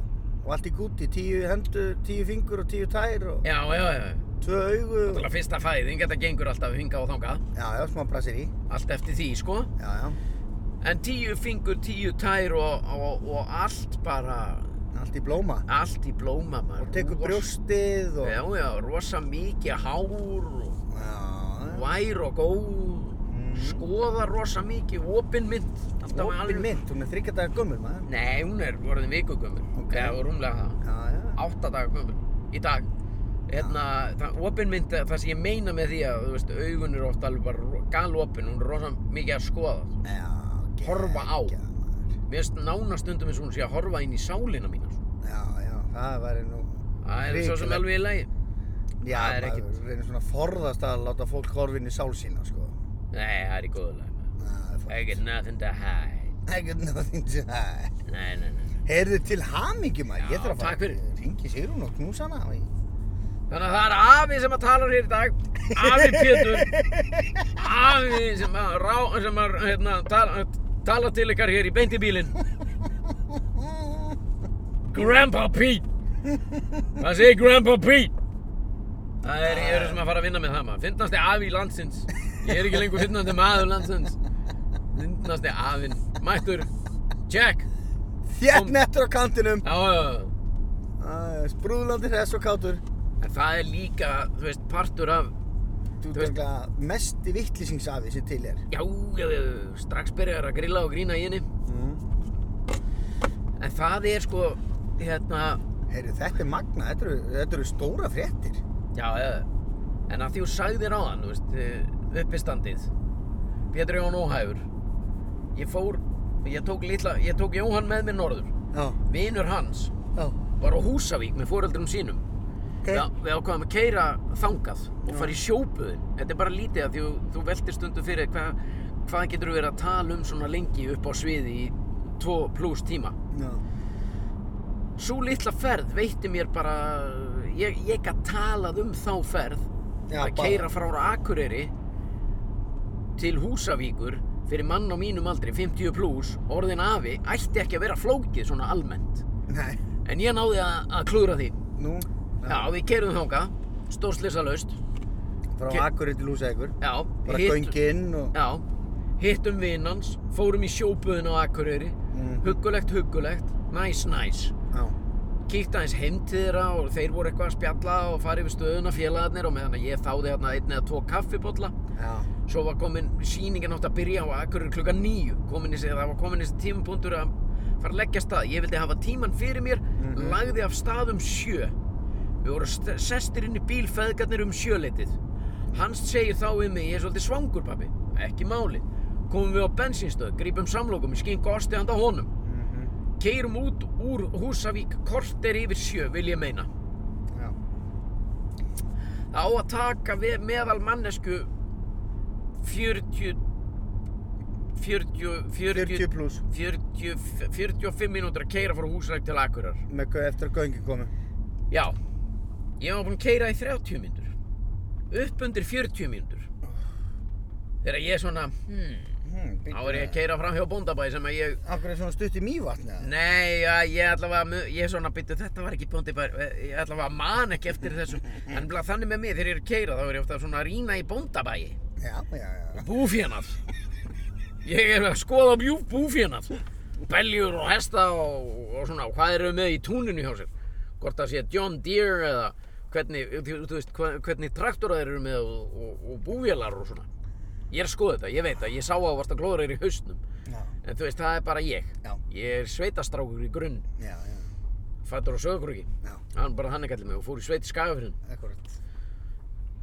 Speaker 2: Og allt í gúti, tíu hendur, tíu fingur og tíu tær og
Speaker 1: Já, já, já. já.
Speaker 2: tvö augu. og-
Speaker 1: Náttúrulega fyrsta fæðing, þetta gengur alltaf hingað og þangað.
Speaker 2: Já, já, smá brasir í.
Speaker 1: Allt eftir því, sko.
Speaker 2: Já, já.
Speaker 1: En tíu fingur, tíu tær og, og, og allt bara,
Speaker 2: Allt í blóma.
Speaker 1: allt í blóma maður.
Speaker 2: Og tekur
Speaker 1: Ros-
Speaker 2: brjóstið og...
Speaker 1: Já, já, rosa mikið hár og
Speaker 2: Já, já.
Speaker 1: vær og góð.
Speaker 2: Mm.
Speaker 1: Skoða rosa mikið, opin mynd. alltaf
Speaker 2: Opin
Speaker 1: alveg-
Speaker 2: mynd, hún er þryggja dagar gömur maður.
Speaker 1: Nei, hún er orðin vikugömmur.
Speaker 2: Ok.
Speaker 1: Eða rúmlega það.
Speaker 2: Já, já.
Speaker 1: átta daga gömul í dag hérna, það opinmynd, það sem ég meina með því að, þú veist, augun eru oft alveg bara galopin, hún er rosa mikið að skoða
Speaker 2: Já,
Speaker 1: Horfa á.
Speaker 2: geggjað, maður.
Speaker 1: mér finnst nána stundum eins og hún sé að horfa inn í sálina mína sko.
Speaker 2: Já, já, það væri nú...
Speaker 1: það er svo sem
Speaker 2: hrikalegt.
Speaker 1: alveg í lagi
Speaker 2: Já,
Speaker 1: það er
Speaker 2: maður
Speaker 1: ekkit-
Speaker 2: reynir svona að forðast að láta fólk horfa inn í sál sína, sko.
Speaker 1: nei, það er í góðu lagi
Speaker 2: Já, það er fólk.
Speaker 1: I got nothing to hide
Speaker 2: Ekkert nothing to hide.
Speaker 1: nei, nei, nei.
Speaker 2: Heyrðu til hamingi maður,
Speaker 1: Já,
Speaker 2: ég þarf að
Speaker 1: takk fyrir.
Speaker 2: Ringi Sigrún og knúsa hana. og ég-
Speaker 1: þannig að það er afi sem að tala um hér í dag afi Pétur afi sem að, rá, sem að hérna, tala, tala til ykkar hér í beint í bílinn Grandpa Pete Hvað segir Grandpa Pete? Það er, ég er sem að fara að vinna með það maður Fyndnasti afi landsins Ég er ekki lengur fyndnasti maður landsins Fyndnasti afinn Mættur Jack
Speaker 2: Þjætt nettur á kantinum.
Speaker 1: Já, já, já
Speaker 2: Æ, Sprúðlandi hress og kátur.
Speaker 1: En það er líka, þú veist, partur af
Speaker 2: Þú
Speaker 1: Þú veist-
Speaker 2: veist ekki mesti vittlýsingsafi sem til er.
Speaker 1: Já, já, já, strax byrjar að grilla og grína í henni
Speaker 2: Mm.
Speaker 1: En það er sko, hérna
Speaker 2: Heyrðu, þetta er magna, þetta eru, þetta eru stóra fréttir.
Speaker 1: Já, já, já En að því þú sagðir áðan, þú veist, eh, uppistandið Pétur Jón Óhæfur Ég fór, ég tók litla, ég tók Jóhann með mér norður
Speaker 2: Já,
Speaker 1: Vinur hans
Speaker 2: já.
Speaker 1: var á Húsavík með foreldrum sínum
Speaker 2: Okay.
Speaker 1: okay. Við ákvaðum að keyra þangað og fara í sjóbuðin Þetta er bara lítið að því þú, þú veltir stundu fyrir þér hvað, hvað getur verið að tala um svona lengi upp á sviði í 2 pluss tíma
Speaker 2: Já.
Speaker 1: Sú litla ferð veitti mér bara, ég, ég gætt talað um þá ferð
Speaker 2: Já,
Speaker 1: að
Speaker 2: bara.
Speaker 1: keira frá Akureyri til Húsavíkur fyrir mann á mínum aldri, 50 pluss, orðin afi, ætti ekki að vera flókið svona almennt.
Speaker 2: Nei,
Speaker 1: En ég náði að, að klúra því.
Speaker 2: nú.
Speaker 1: Já, við keirum þangað, stórsleisa laust.
Speaker 2: Frá
Speaker 1: Ke-
Speaker 2: Akureyri til Húsækur.
Speaker 1: Já,
Speaker 2: Bara
Speaker 1: hitt-
Speaker 2: gönginn og...
Speaker 1: Já, hittum vinn hans, fórum í sjóbuðin á Akureyri,
Speaker 2: Mhm.
Speaker 1: huggulegt, huggulegt, næs, næs.
Speaker 2: Já.
Speaker 1: kíkti aðeins heim til þeirra og þeir voru eitthvað að spjalla og fara yfir stöðuna félagarnir og meðan að ég þáði hérna einn eða tvo kaffibolla
Speaker 2: Mhm. Já.
Speaker 1: svo var komin, sýningin átt að byrja á akkurir klukkan níu komin í sig, það var komin í sig tímapunktur að fara að leggja af stað ég vildi hafa tíman fyrir mér,
Speaker 2: Mhm.
Speaker 1: lagði af stað um sjö við vorum st- sestir inn í bíl feðgarnir um sjöleitið hans segir þá við mig, ég er svolítið svangur pappi ekki máli, komum við á bensínstöð grípum samlokum, skink og osti handa honum
Speaker 2: Mhm.
Speaker 1: Keirum út úr Húsavík korter yfir sjö, vil ég meina.
Speaker 2: Já.
Speaker 1: Það á að taka við meðal mannesku 40, 40,
Speaker 2: 40
Speaker 1: 40,
Speaker 2: pluss
Speaker 1: 40, 45 mínútur að keira frá húsræk til Akureyrar.
Speaker 2: með gau- eftir að göngin komu.
Speaker 1: Já, ég var búinn að keira í 30 mínútur. Upp undir 40 mínútur. Þegar ég er svona, hmm,
Speaker 2: Hmm,
Speaker 1: þá er ég að keira fram hjá bóndabæ sem að ég,
Speaker 2: Akkur er svona stutt í mývatni eða?
Speaker 1: nei, ja, ég allavega, mu- ég er svona, byrju, þetta var ekki bóndabæ, ég allavega man ekki eftir þessu. En bara þannig með mig, þegar ég er að keira, þá er ég ofta svona að rýna í bóndabæi.
Speaker 2: Já, já, já.
Speaker 1: Búfénað. Ég er að skoða bjú, búfénað. Beljur og hesta og, og svona, og hvað eru með í túninu hjá sér? Hvort það sé John Deere eða hvernig, þú, þú veist, hva- hvernig traktora þeir eru með og, og, og búvélar og svona. Ég er að skoða þetta, ég veit það, ég sá að það varst að glóður er í hausnum.
Speaker 2: Já,
Speaker 1: En þú veist, það er bara ég.
Speaker 2: Já.
Speaker 1: Ég er sveitastrákur í grunn,
Speaker 2: já, já.
Speaker 1: fættur á sögurkrúki.
Speaker 2: Já,
Speaker 1: Hann bara hann ekki allir mig og fór í sveit í skagafyrinn.
Speaker 2: akkurat.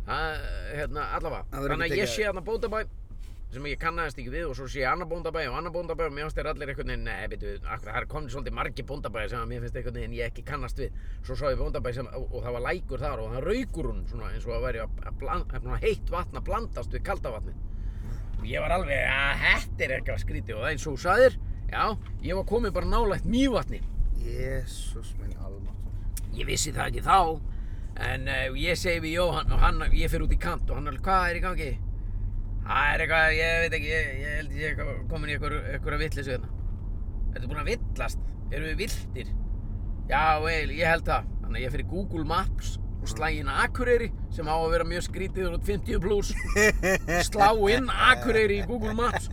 Speaker 1: Það, hérna, allavega.
Speaker 2: Það verður ekki
Speaker 1: Þannig að ég
Speaker 2: tekið
Speaker 1: sé þarna bóndabæ sem ég kannaðist ekki við og svo sé ég annar bóndabæ og annar bóndabæ og mér finnst þeir allir einhvern veginn, nei, veitu, það er komin svolítið margir bóndabæ sem að mér finnst einhvern veginn ég ekki kannast við. Svo sá ég bóndabæ sem, og, og það var lækur þar og það raukur hún svona eins og það væri að, að, blan- að, svona heitt vatn að blandast við kalda vatnið. Og ég var alveg, að þetta er eitthvað skrítið og það eins og þú sagðir, já, ég var komin bara nálægt mývatni.
Speaker 2: Jésús minn almáttur.
Speaker 1: Ég vissi það ekki þá En uh, ég segi við Jóhann og hann, ég fyrir út í kant og hann alveg, hvað er í gangi? Það er eitthvað, ég veit ekki, ég, ég held ég sé komin í einhver- einhverja vitleysu hérna Þetta er búin að villast, eru við viltir? Já, vel, ég held það Þannig að ég fyrir Google Maps og slæ inn Akureyri sem á að vera mjög skrítið út 50 pluss slá inn Akureyri í Google Maps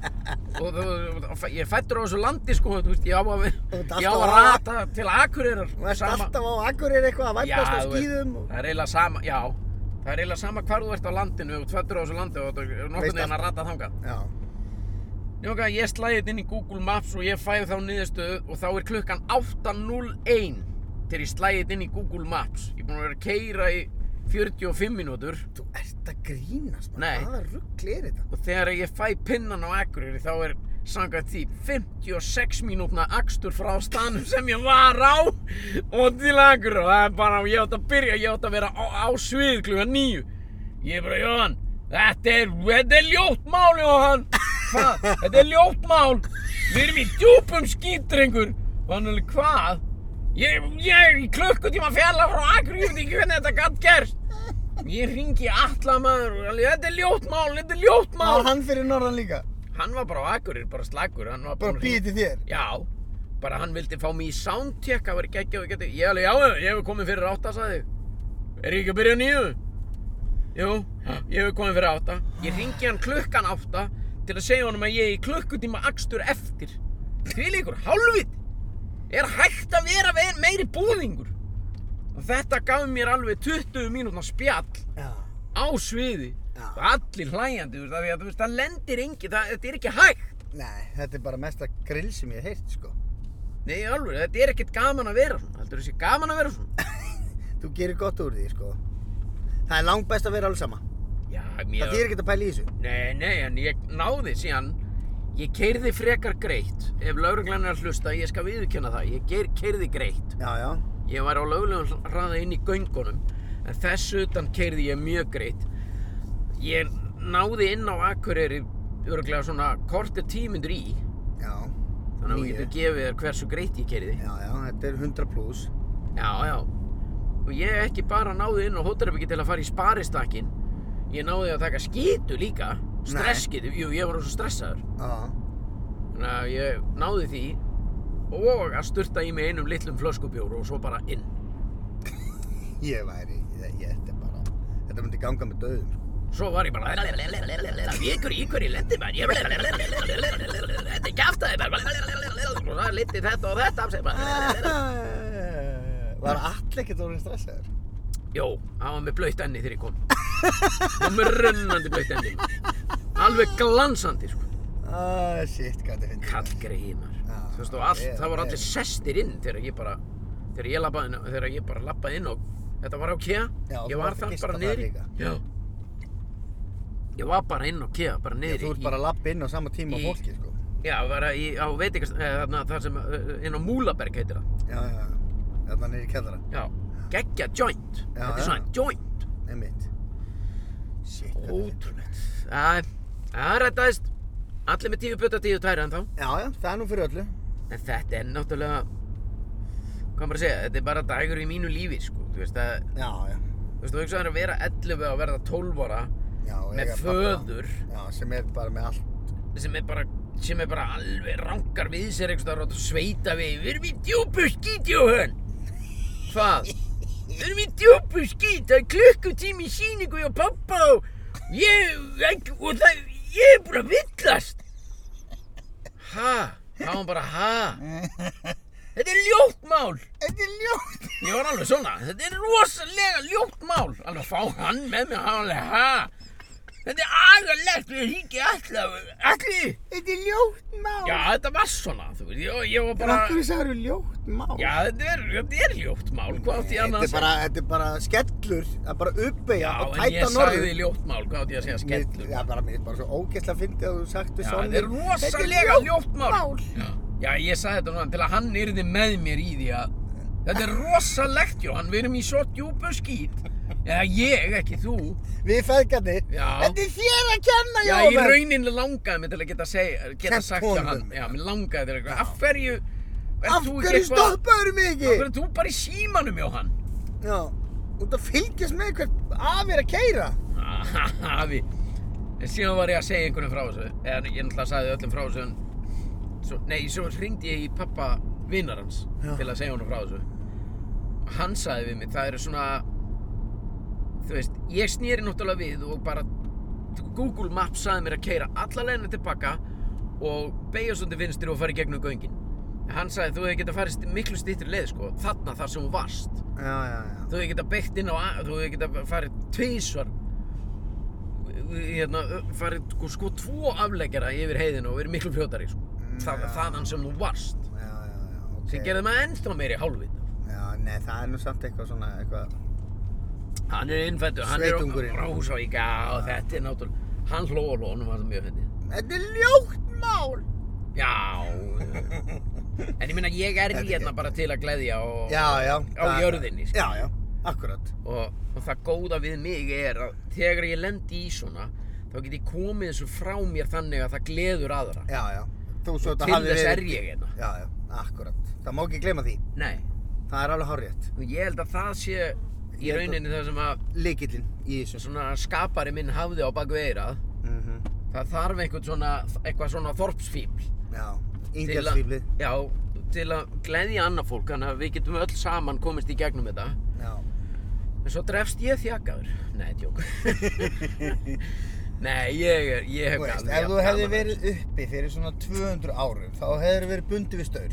Speaker 1: og þú, og ég fættur á þessu landi sko, þú veist, ég á að,
Speaker 2: Þú ert
Speaker 1: ég á að
Speaker 2: alltaf á-
Speaker 1: rata til Akureyrar
Speaker 2: Þú ert
Speaker 1: sama-
Speaker 2: alltaf á Akureyri eitthvað að
Speaker 1: Já,
Speaker 2: væpast á
Speaker 1: þú veist,
Speaker 2: skýðum og...
Speaker 1: Það er eiginlega sama, já Það er eiginlega sama hvar þú ert á landinu og tvættur á þessu landi og þú er
Speaker 2: Veist
Speaker 1: nokkurn veginn að
Speaker 2: allt.
Speaker 1: rata þangað
Speaker 2: Já,
Speaker 1: Jóka, ég slæði þetta inn í Google Maps og ég fæði þá niðurstöðu og þá er klukkan 8.01 til ég slæði þetta inn í Google Maps Ég er búinn að vera að keyra í 45 mínútur
Speaker 2: þú ert að grínast,
Speaker 1: Nei.
Speaker 2: maður. Hvaða rugl er þetta?
Speaker 1: og þegar ég fæ pinnan á Akureyri þá er sangað því 56 mínútna akstur frá stanum sem ég var á og til Akureyri og það er bara, ég átt að byrja, ég átt að vera á, á svið kluga nýju ég er bara, Jóhann, þetta er, þetta er ljótt mál Jóhann Hva? þetta er ljótt mál við erum í djúpum skítrengur og hann er alveg, hvað? Ég, ég er í klukkutíma fjalla frá Akureyri, ég veit ekki hvernig þetta gætt gerst Ég ringi alla maður og alveg, þetta er ljótt mál, þetta er ljótt
Speaker 2: Má
Speaker 1: mál.
Speaker 2: hann fyrir norðan líka?
Speaker 1: Hann var bara á Akureyri, bara slagur, hann var
Speaker 2: Bara
Speaker 1: búinn að hringja-
Speaker 2: býði þér?
Speaker 1: Já, bara hann vildi fá mig í soundcheck, það var geggjað og geggjað. Ég alveg, já, ég hef komið fyrir átta, sagði ég. Er ég ekki að byrja á nýju? Jú, ég hef komið fyrir átta. Ég ringi hann klukkan átta til að segja honum að ég er í klukkutíma akstur eftir. Til ykkur, hálfvit! Er hægt að vera ver- meiri búðingur? Og þetta gaf mér alveg 20 mínútna spjall
Speaker 2: Já.
Speaker 1: á sviði
Speaker 2: Já.
Speaker 1: og allir hlæjandi, þú veist, af því að þú veist, það lendir engi, það, þetta er ekki hægt
Speaker 2: Nei, þetta er bara mesta grill sem ég heilt, sko.
Speaker 1: Nei, alveg, þetta er ekkert gaman að vera svona Heldur þessi gaman að vera svona?
Speaker 2: Þú gerir gott úr því, sko. Það er langt best að vera alveg sama.
Speaker 1: Já,
Speaker 2: Það
Speaker 1: mér
Speaker 2: þýðir ekki að pæla í þessu.
Speaker 1: Nei, nei, en ég náði síðan Ég keyrði frekar greitt Ef lauruglan er að hlusta, ég skal viðurkenna það Ég ger, keyrði greitt
Speaker 2: Já, já.
Speaker 1: Ég var á löglegum hraða inn í göngunum En þess utan keyrði ég mjög greitt Ég náði inn á Akureyri Örglega svona kortir tímundur í
Speaker 2: Já.
Speaker 1: Þannig að þú
Speaker 2: Níu.
Speaker 1: getur gefið þér hversu greitt ég keyrði
Speaker 2: Já, já, þetta er 100 pluss.
Speaker 1: Já, já. Og ég ekki bara náði inn á hótelherbyggi til að fara í sparistakkin. Ég náði að taka skýtu líka. Stresskitu. Jú, ég var svo stressaður.
Speaker 2: Já.
Speaker 1: Þannig að ég náði því og að sturta í mig einum litlum flöskubjóru og svo bara inn.
Speaker 2: Ég væri, ég, ég, þetta er bara, þetta myndi ganga með döðum, sko.
Speaker 1: Svo var ég bara Vikur í hverju lendi maður Ég- Þetta er kjaftaði bara Og það liti þetta og þetta af sér bara.
Speaker 2: sko. Var allir ekkert orðin stressaður?
Speaker 1: Jó, hann var með blautt enni þegar ég kom Og með runnandi blautt enni Alveg glansandi sko
Speaker 2: Ah, shit, hvað þetta finnst.
Speaker 1: kallgreinar
Speaker 2: Já,
Speaker 1: þú veist og allt,
Speaker 2: vel,
Speaker 1: það voru
Speaker 2: vel.
Speaker 1: allir sestir inn þegar ég bara þegar ég, labbaði, inn- þegar ég bara labbaði inn og þetta var á KEA
Speaker 2: Já, þú
Speaker 1: ég var
Speaker 2: varst að
Speaker 1: þar
Speaker 2: gista
Speaker 1: bara
Speaker 2: þar
Speaker 1: niðri
Speaker 2: líka.
Speaker 1: Já. ég var bara inn á KEA bara niðri
Speaker 2: Þú ert bara að lappa inn á sama tíma
Speaker 1: í-
Speaker 2: í... fólki, sko.
Speaker 1: í, já, bara í, á veitingast eh, þarna, þar sem, eh, inn á Múlaberg heitir það
Speaker 2: Já, já, já. Þarna niður í kellara,
Speaker 1: já, geggja joint
Speaker 2: Já,
Speaker 1: þetta
Speaker 2: já.
Speaker 1: er svona joint
Speaker 2: einmitt. Shit, hvað þetta finnst.
Speaker 1: ótrúlegt Æ, það rættaðist Allir með tíu putta tíu tæri en þá.
Speaker 2: Já, já, það er nú fyrir öllu.
Speaker 1: En þetta er náttúrulega, hvað maður að segja, þetta er bara dagur í mínu lífi, sko. Þú veist að,
Speaker 2: Já, já.
Speaker 1: þú veist, þú hugsaður að vera 11 og verða 12 ára
Speaker 2: já
Speaker 1: með
Speaker 2: eiga pabba.
Speaker 1: föður
Speaker 2: Já, sem er bara með allt.
Speaker 1: sem er bara, sem er bara alveg rangar við sér einhverstaðar og sveita við, við erum í djúpu skítjóhön. Hvað? Við erum í djúpu skít, það er klukkutími í síningu hjá pappa og ég, ég, og það, ég er búin að villast. Ha? Það var bara ha? Þetta er ljótt mál.
Speaker 2: Þetta er ljótt.
Speaker 1: Ég var alveg svona, þetta er rosalega ljótt mál. Alveg fá hann með mig, hann alveg, ha? Þetta er agalegt, við hringi allir, allir.
Speaker 2: Þetta er ljótt mál.
Speaker 1: Já, þetta var svona, þú veist, ég, ég var
Speaker 2: Bara...
Speaker 1: bara,
Speaker 2: Akkur það eru ljótt mál.
Speaker 1: já, þetta er, þetta er ljótt mál, hvað átti ég
Speaker 2: Þetta
Speaker 1: annað
Speaker 2: er,
Speaker 1: að
Speaker 2: bara,
Speaker 1: segja?
Speaker 2: þetta er bara skellur, það er bara
Speaker 1: Já,
Speaker 2: uppeyja og
Speaker 1: en
Speaker 2: tæta
Speaker 1: ég
Speaker 2: norður.
Speaker 1: sagði ljótt mál, hvað átti ég að segja, skellur?
Speaker 2: Já, bara, mér er bara svo ógeðslega fyndið að þú sagt við
Speaker 1: Já,
Speaker 2: sonni.
Speaker 1: þetta er rosalega ljótt mál. Já, já, ég sagði þetta núna til að hann yrði með mér í því að þetta er rosalegt, Jóhann, við erum í svo djúpu skít. Eða ég, ekki þú.
Speaker 2: Við feðgarnir.
Speaker 1: Já.
Speaker 2: Þetta er þér að kenna,
Speaker 1: Já, í
Speaker 2: Jóhann.
Speaker 1: rauninni langaði mig til að geta, seg, geta
Speaker 2: Kennt
Speaker 1: sagt
Speaker 2: honum
Speaker 1: hjá hann.
Speaker 2: um þetta.
Speaker 1: Já, mér langaði til að, af hverju, ert
Speaker 2: Af
Speaker 1: þú ekki
Speaker 2: hverju
Speaker 1: eitthvað-
Speaker 2: stoppaður mig
Speaker 1: Af
Speaker 2: ekki?
Speaker 1: hverju ert þú bara í símanum, Jóhann?
Speaker 2: Já. Þú ert að fylgjast með hvert af er að keira.
Speaker 1: Hafi. En síðan var ég að segja einhvernum frá þessu. Eða ég náttúrulega sagði öllum frá þessu. En, svo, nei, svo hringdi ég í pappa vinar hans
Speaker 2: Já.
Speaker 1: til að segja honum frá þessu. Og Hann sagði við mig, það eru svona, þú veist, ég snýri náttúrulega við og bara Google Maps sagði mér að keira alla leiðina tilbaka og beigja svo til vinstri og fara í gegnum göngin. En Hann sagði þú hefði getað farið st- miklu stýttri leið sko, þarna þar sem þú varst
Speaker 2: Já, já, já.
Speaker 1: þú hefði getað byggt inn á a- þú hefði getað farið tvísvar hérna, farið sko, sko tvo afleggjara yfir heiðinu og verið miklu fljótari sko. Þa,
Speaker 2: já.
Speaker 1: þaðan sem þú varst
Speaker 2: Já, já, já, ok.
Speaker 1: sem gerði maður ennþá meiri hálfvita
Speaker 2: Já, nei, það er nú samt eitthvað svona, eitthvað.
Speaker 1: hann er innfættu, hann
Speaker 2: Sveitungurinn.
Speaker 1: er rásavíka og þetta er náttúrulega hann hló og hló, hann var það mjög fyndið
Speaker 2: Þetta er ljótt mál.
Speaker 1: já en ég minna ég er
Speaker 2: Þetta er-
Speaker 1: hérna bara til að gleðja og,
Speaker 2: Já, já.
Speaker 1: á
Speaker 2: það-
Speaker 1: jörðinni sko.
Speaker 2: Já, já, akkurat.
Speaker 1: og, og það góða við mig er að þegar ég lendi í svona þá get ég komið þessu frá mér þannig að það gleður aðra
Speaker 2: Já, já. Þú svo þetta
Speaker 1: til
Speaker 2: hafi
Speaker 1: þess er
Speaker 2: verið-
Speaker 1: ég hérna
Speaker 2: Já, já, akkurat. Það má ekki gleyma því.
Speaker 1: nei,
Speaker 2: Það er alveg hárétt.
Speaker 1: og ég held að það sé í
Speaker 2: Ég held að-
Speaker 1: rauninni það sem að
Speaker 2: Likillinn í þessu.
Speaker 1: svona skapari minn hafði á baku eirað
Speaker 2: Mm
Speaker 1: Mhm.
Speaker 2: -hmm.
Speaker 1: það þarf einhvern svona eitthvað svona þorpsfíbl
Speaker 2: Já,
Speaker 1: til að-
Speaker 2: yngjarsvíflið.
Speaker 1: já, til að gleðja annað fólk þannig að við getum öll saman komist í gegnum þetta
Speaker 2: Já.
Speaker 1: en svo drefst ég þjakaður nei, tjók nei, ég er ég hef
Speaker 2: Þú veist,
Speaker 1: alveg
Speaker 2: ef
Speaker 1: jafn
Speaker 2: þú
Speaker 1: gaman
Speaker 2: hefði
Speaker 1: að
Speaker 2: verið uppi fyrir svona 200 árum, þá hefði verið bundið við staur.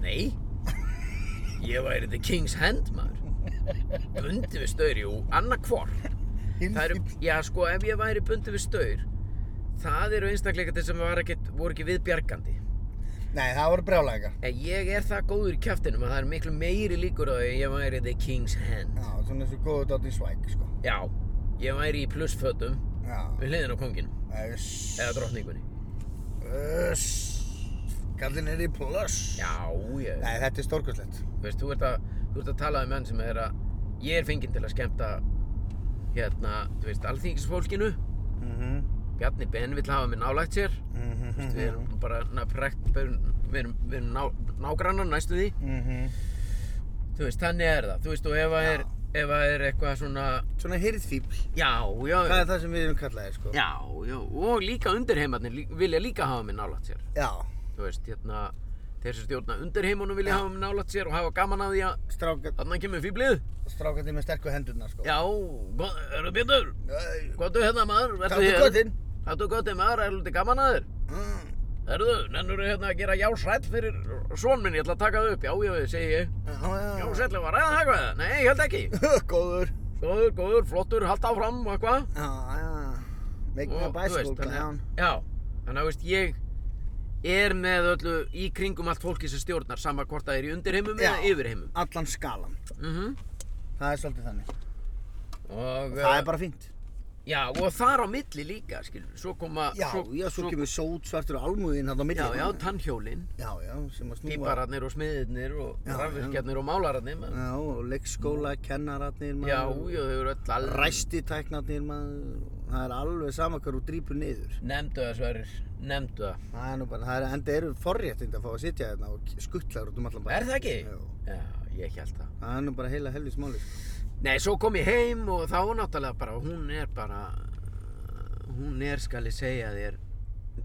Speaker 1: Nei Ég væri the king's hand maður Bundið við staur, jú, annað hvort Það eru, já sko, ef ég væri bundið við staur Það eru einstakleikandi sem var ekkit, voru ekki viðbjargandi
Speaker 2: Nei, það voru brjálæðingar.
Speaker 1: En ég er það góður í kjaftinum að það er miklu meiri líkur á því að ég væri the king's hand
Speaker 2: Já, svona eins og góðu dátin svæk, sko.
Speaker 1: Já, ég væri í plussfötum
Speaker 2: Já.
Speaker 1: Við hliðin á konginum,
Speaker 2: Öss.
Speaker 1: eða drottningunni
Speaker 2: Öss. Kallinn er í pluss.
Speaker 1: Já, ég,
Speaker 2: Nei, þetta er stórkostlegt.
Speaker 1: þú veist, þú ert að, þú ert að tala um menn sem er að Ég er fenginn til að skemmta Hérna, þú veist, alþingisfólkinu
Speaker 2: Mhm.
Speaker 1: Bjarni Ben vill hafa mig nálægt sér
Speaker 2: Mhm.
Speaker 1: Þú veist, við erum bara na, prekt, við erum, við erum, við erum ná, nágrannar næstu því
Speaker 2: Mhm.
Speaker 1: þú veist, þannig er það þú veist, og ef að er, ef að er eitthvað svona
Speaker 2: Svona hirðfíbl.
Speaker 1: já, já,
Speaker 2: Það er það sem við erum kallaðið, sko.
Speaker 1: já, já og líka undirheimarnir lí, vilja líka hafa mig nálægt sér
Speaker 2: Já.
Speaker 1: þú veist, hérna, þeir sem stjórna undirheimunum vilja hafa mig nálægt sér og hafa gaman að því að
Speaker 2: Stráka,
Speaker 1: þarna kemur fýblið
Speaker 2: strákandi með sterku hendurna, sko.
Speaker 1: já, hvað- eru Pétur,
Speaker 2: Æ,
Speaker 1: hvað er hérna maður Ertu
Speaker 2: Taktu
Speaker 1: hér?
Speaker 2: kottinn.
Speaker 1: Taktu kottinn maður, er lúti gaman að þér
Speaker 2: Mm.
Speaker 1: Herðu, nennur hérna að gera jásrætt fyrir svon minn, ég ætla að taka það upp, já, já, segi ég.
Speaker 2: Já,
Speaker 1: Jásrætt, var að ræða eitthvað, nei, ég held ekki.
Speaker 2: Góður.
Speaker 1: Góður, góður, flottur, haldt áfram og eitthvað.
Speaker 2: Já, já. Make my
Speaker 1: Og, þú
Speaker 2: bicycle
Speaker 1: veist, þannig að-
Speaker 2: clown.
Speaker 1: Já, þannig að, þú veist, ég er með öllu í kringum allt fólki sem stjórnar, sama hvort það er í undirheimum
Speaker 2: Já.
Speaker 1: eða yfirheimum.
Speaker 2: Allan skalan.
Speaker 1: Mhm.
Speaker 2: Það er svolítið þannig.
Speaker 1: Og, eh,
Speaker 2: Það er bara fínt.
Speaker 1: Já, og þar á milli líka, skilur Svo koma
Speaker 2: Já, já, svo kemur sótsvartur almúðinn hann á milli.
Speaker 1: Já, já, tannhjólin
Speaker 2: já, já, sem að snúa.
Speaker 1: Pípararnir og smiðirnir og
Speaker 2: Já, já.
Speaker 1: rafvirkjarnir og málararnir maður.
Speaker 2: Já, og leikskóla, kennararnir,
Speaker 1: Já, já, þau eru öll alveg
Speaker 2: Ræstitæknarnir, maður. Það er alveg sama hvar þú drýpur niður.
Speaker 1: Nefndu það, Sverrir, nefndu það
Speaker 2: Það er nú bara, það er, enda eru forréttind að fá að sitja þarna og skuttlar út um allan bara.
Speaker 1: Er það ekki?
Speaker 2: Jú.
Speaker 1: Já, ég held það
Speaker 2: Það er nú bara heila helvis máli, sko.
Speaker 1: Nei, svo kom ég heim og þá náttúrulega bara, hún er bara, hún er, skal ég segja þér,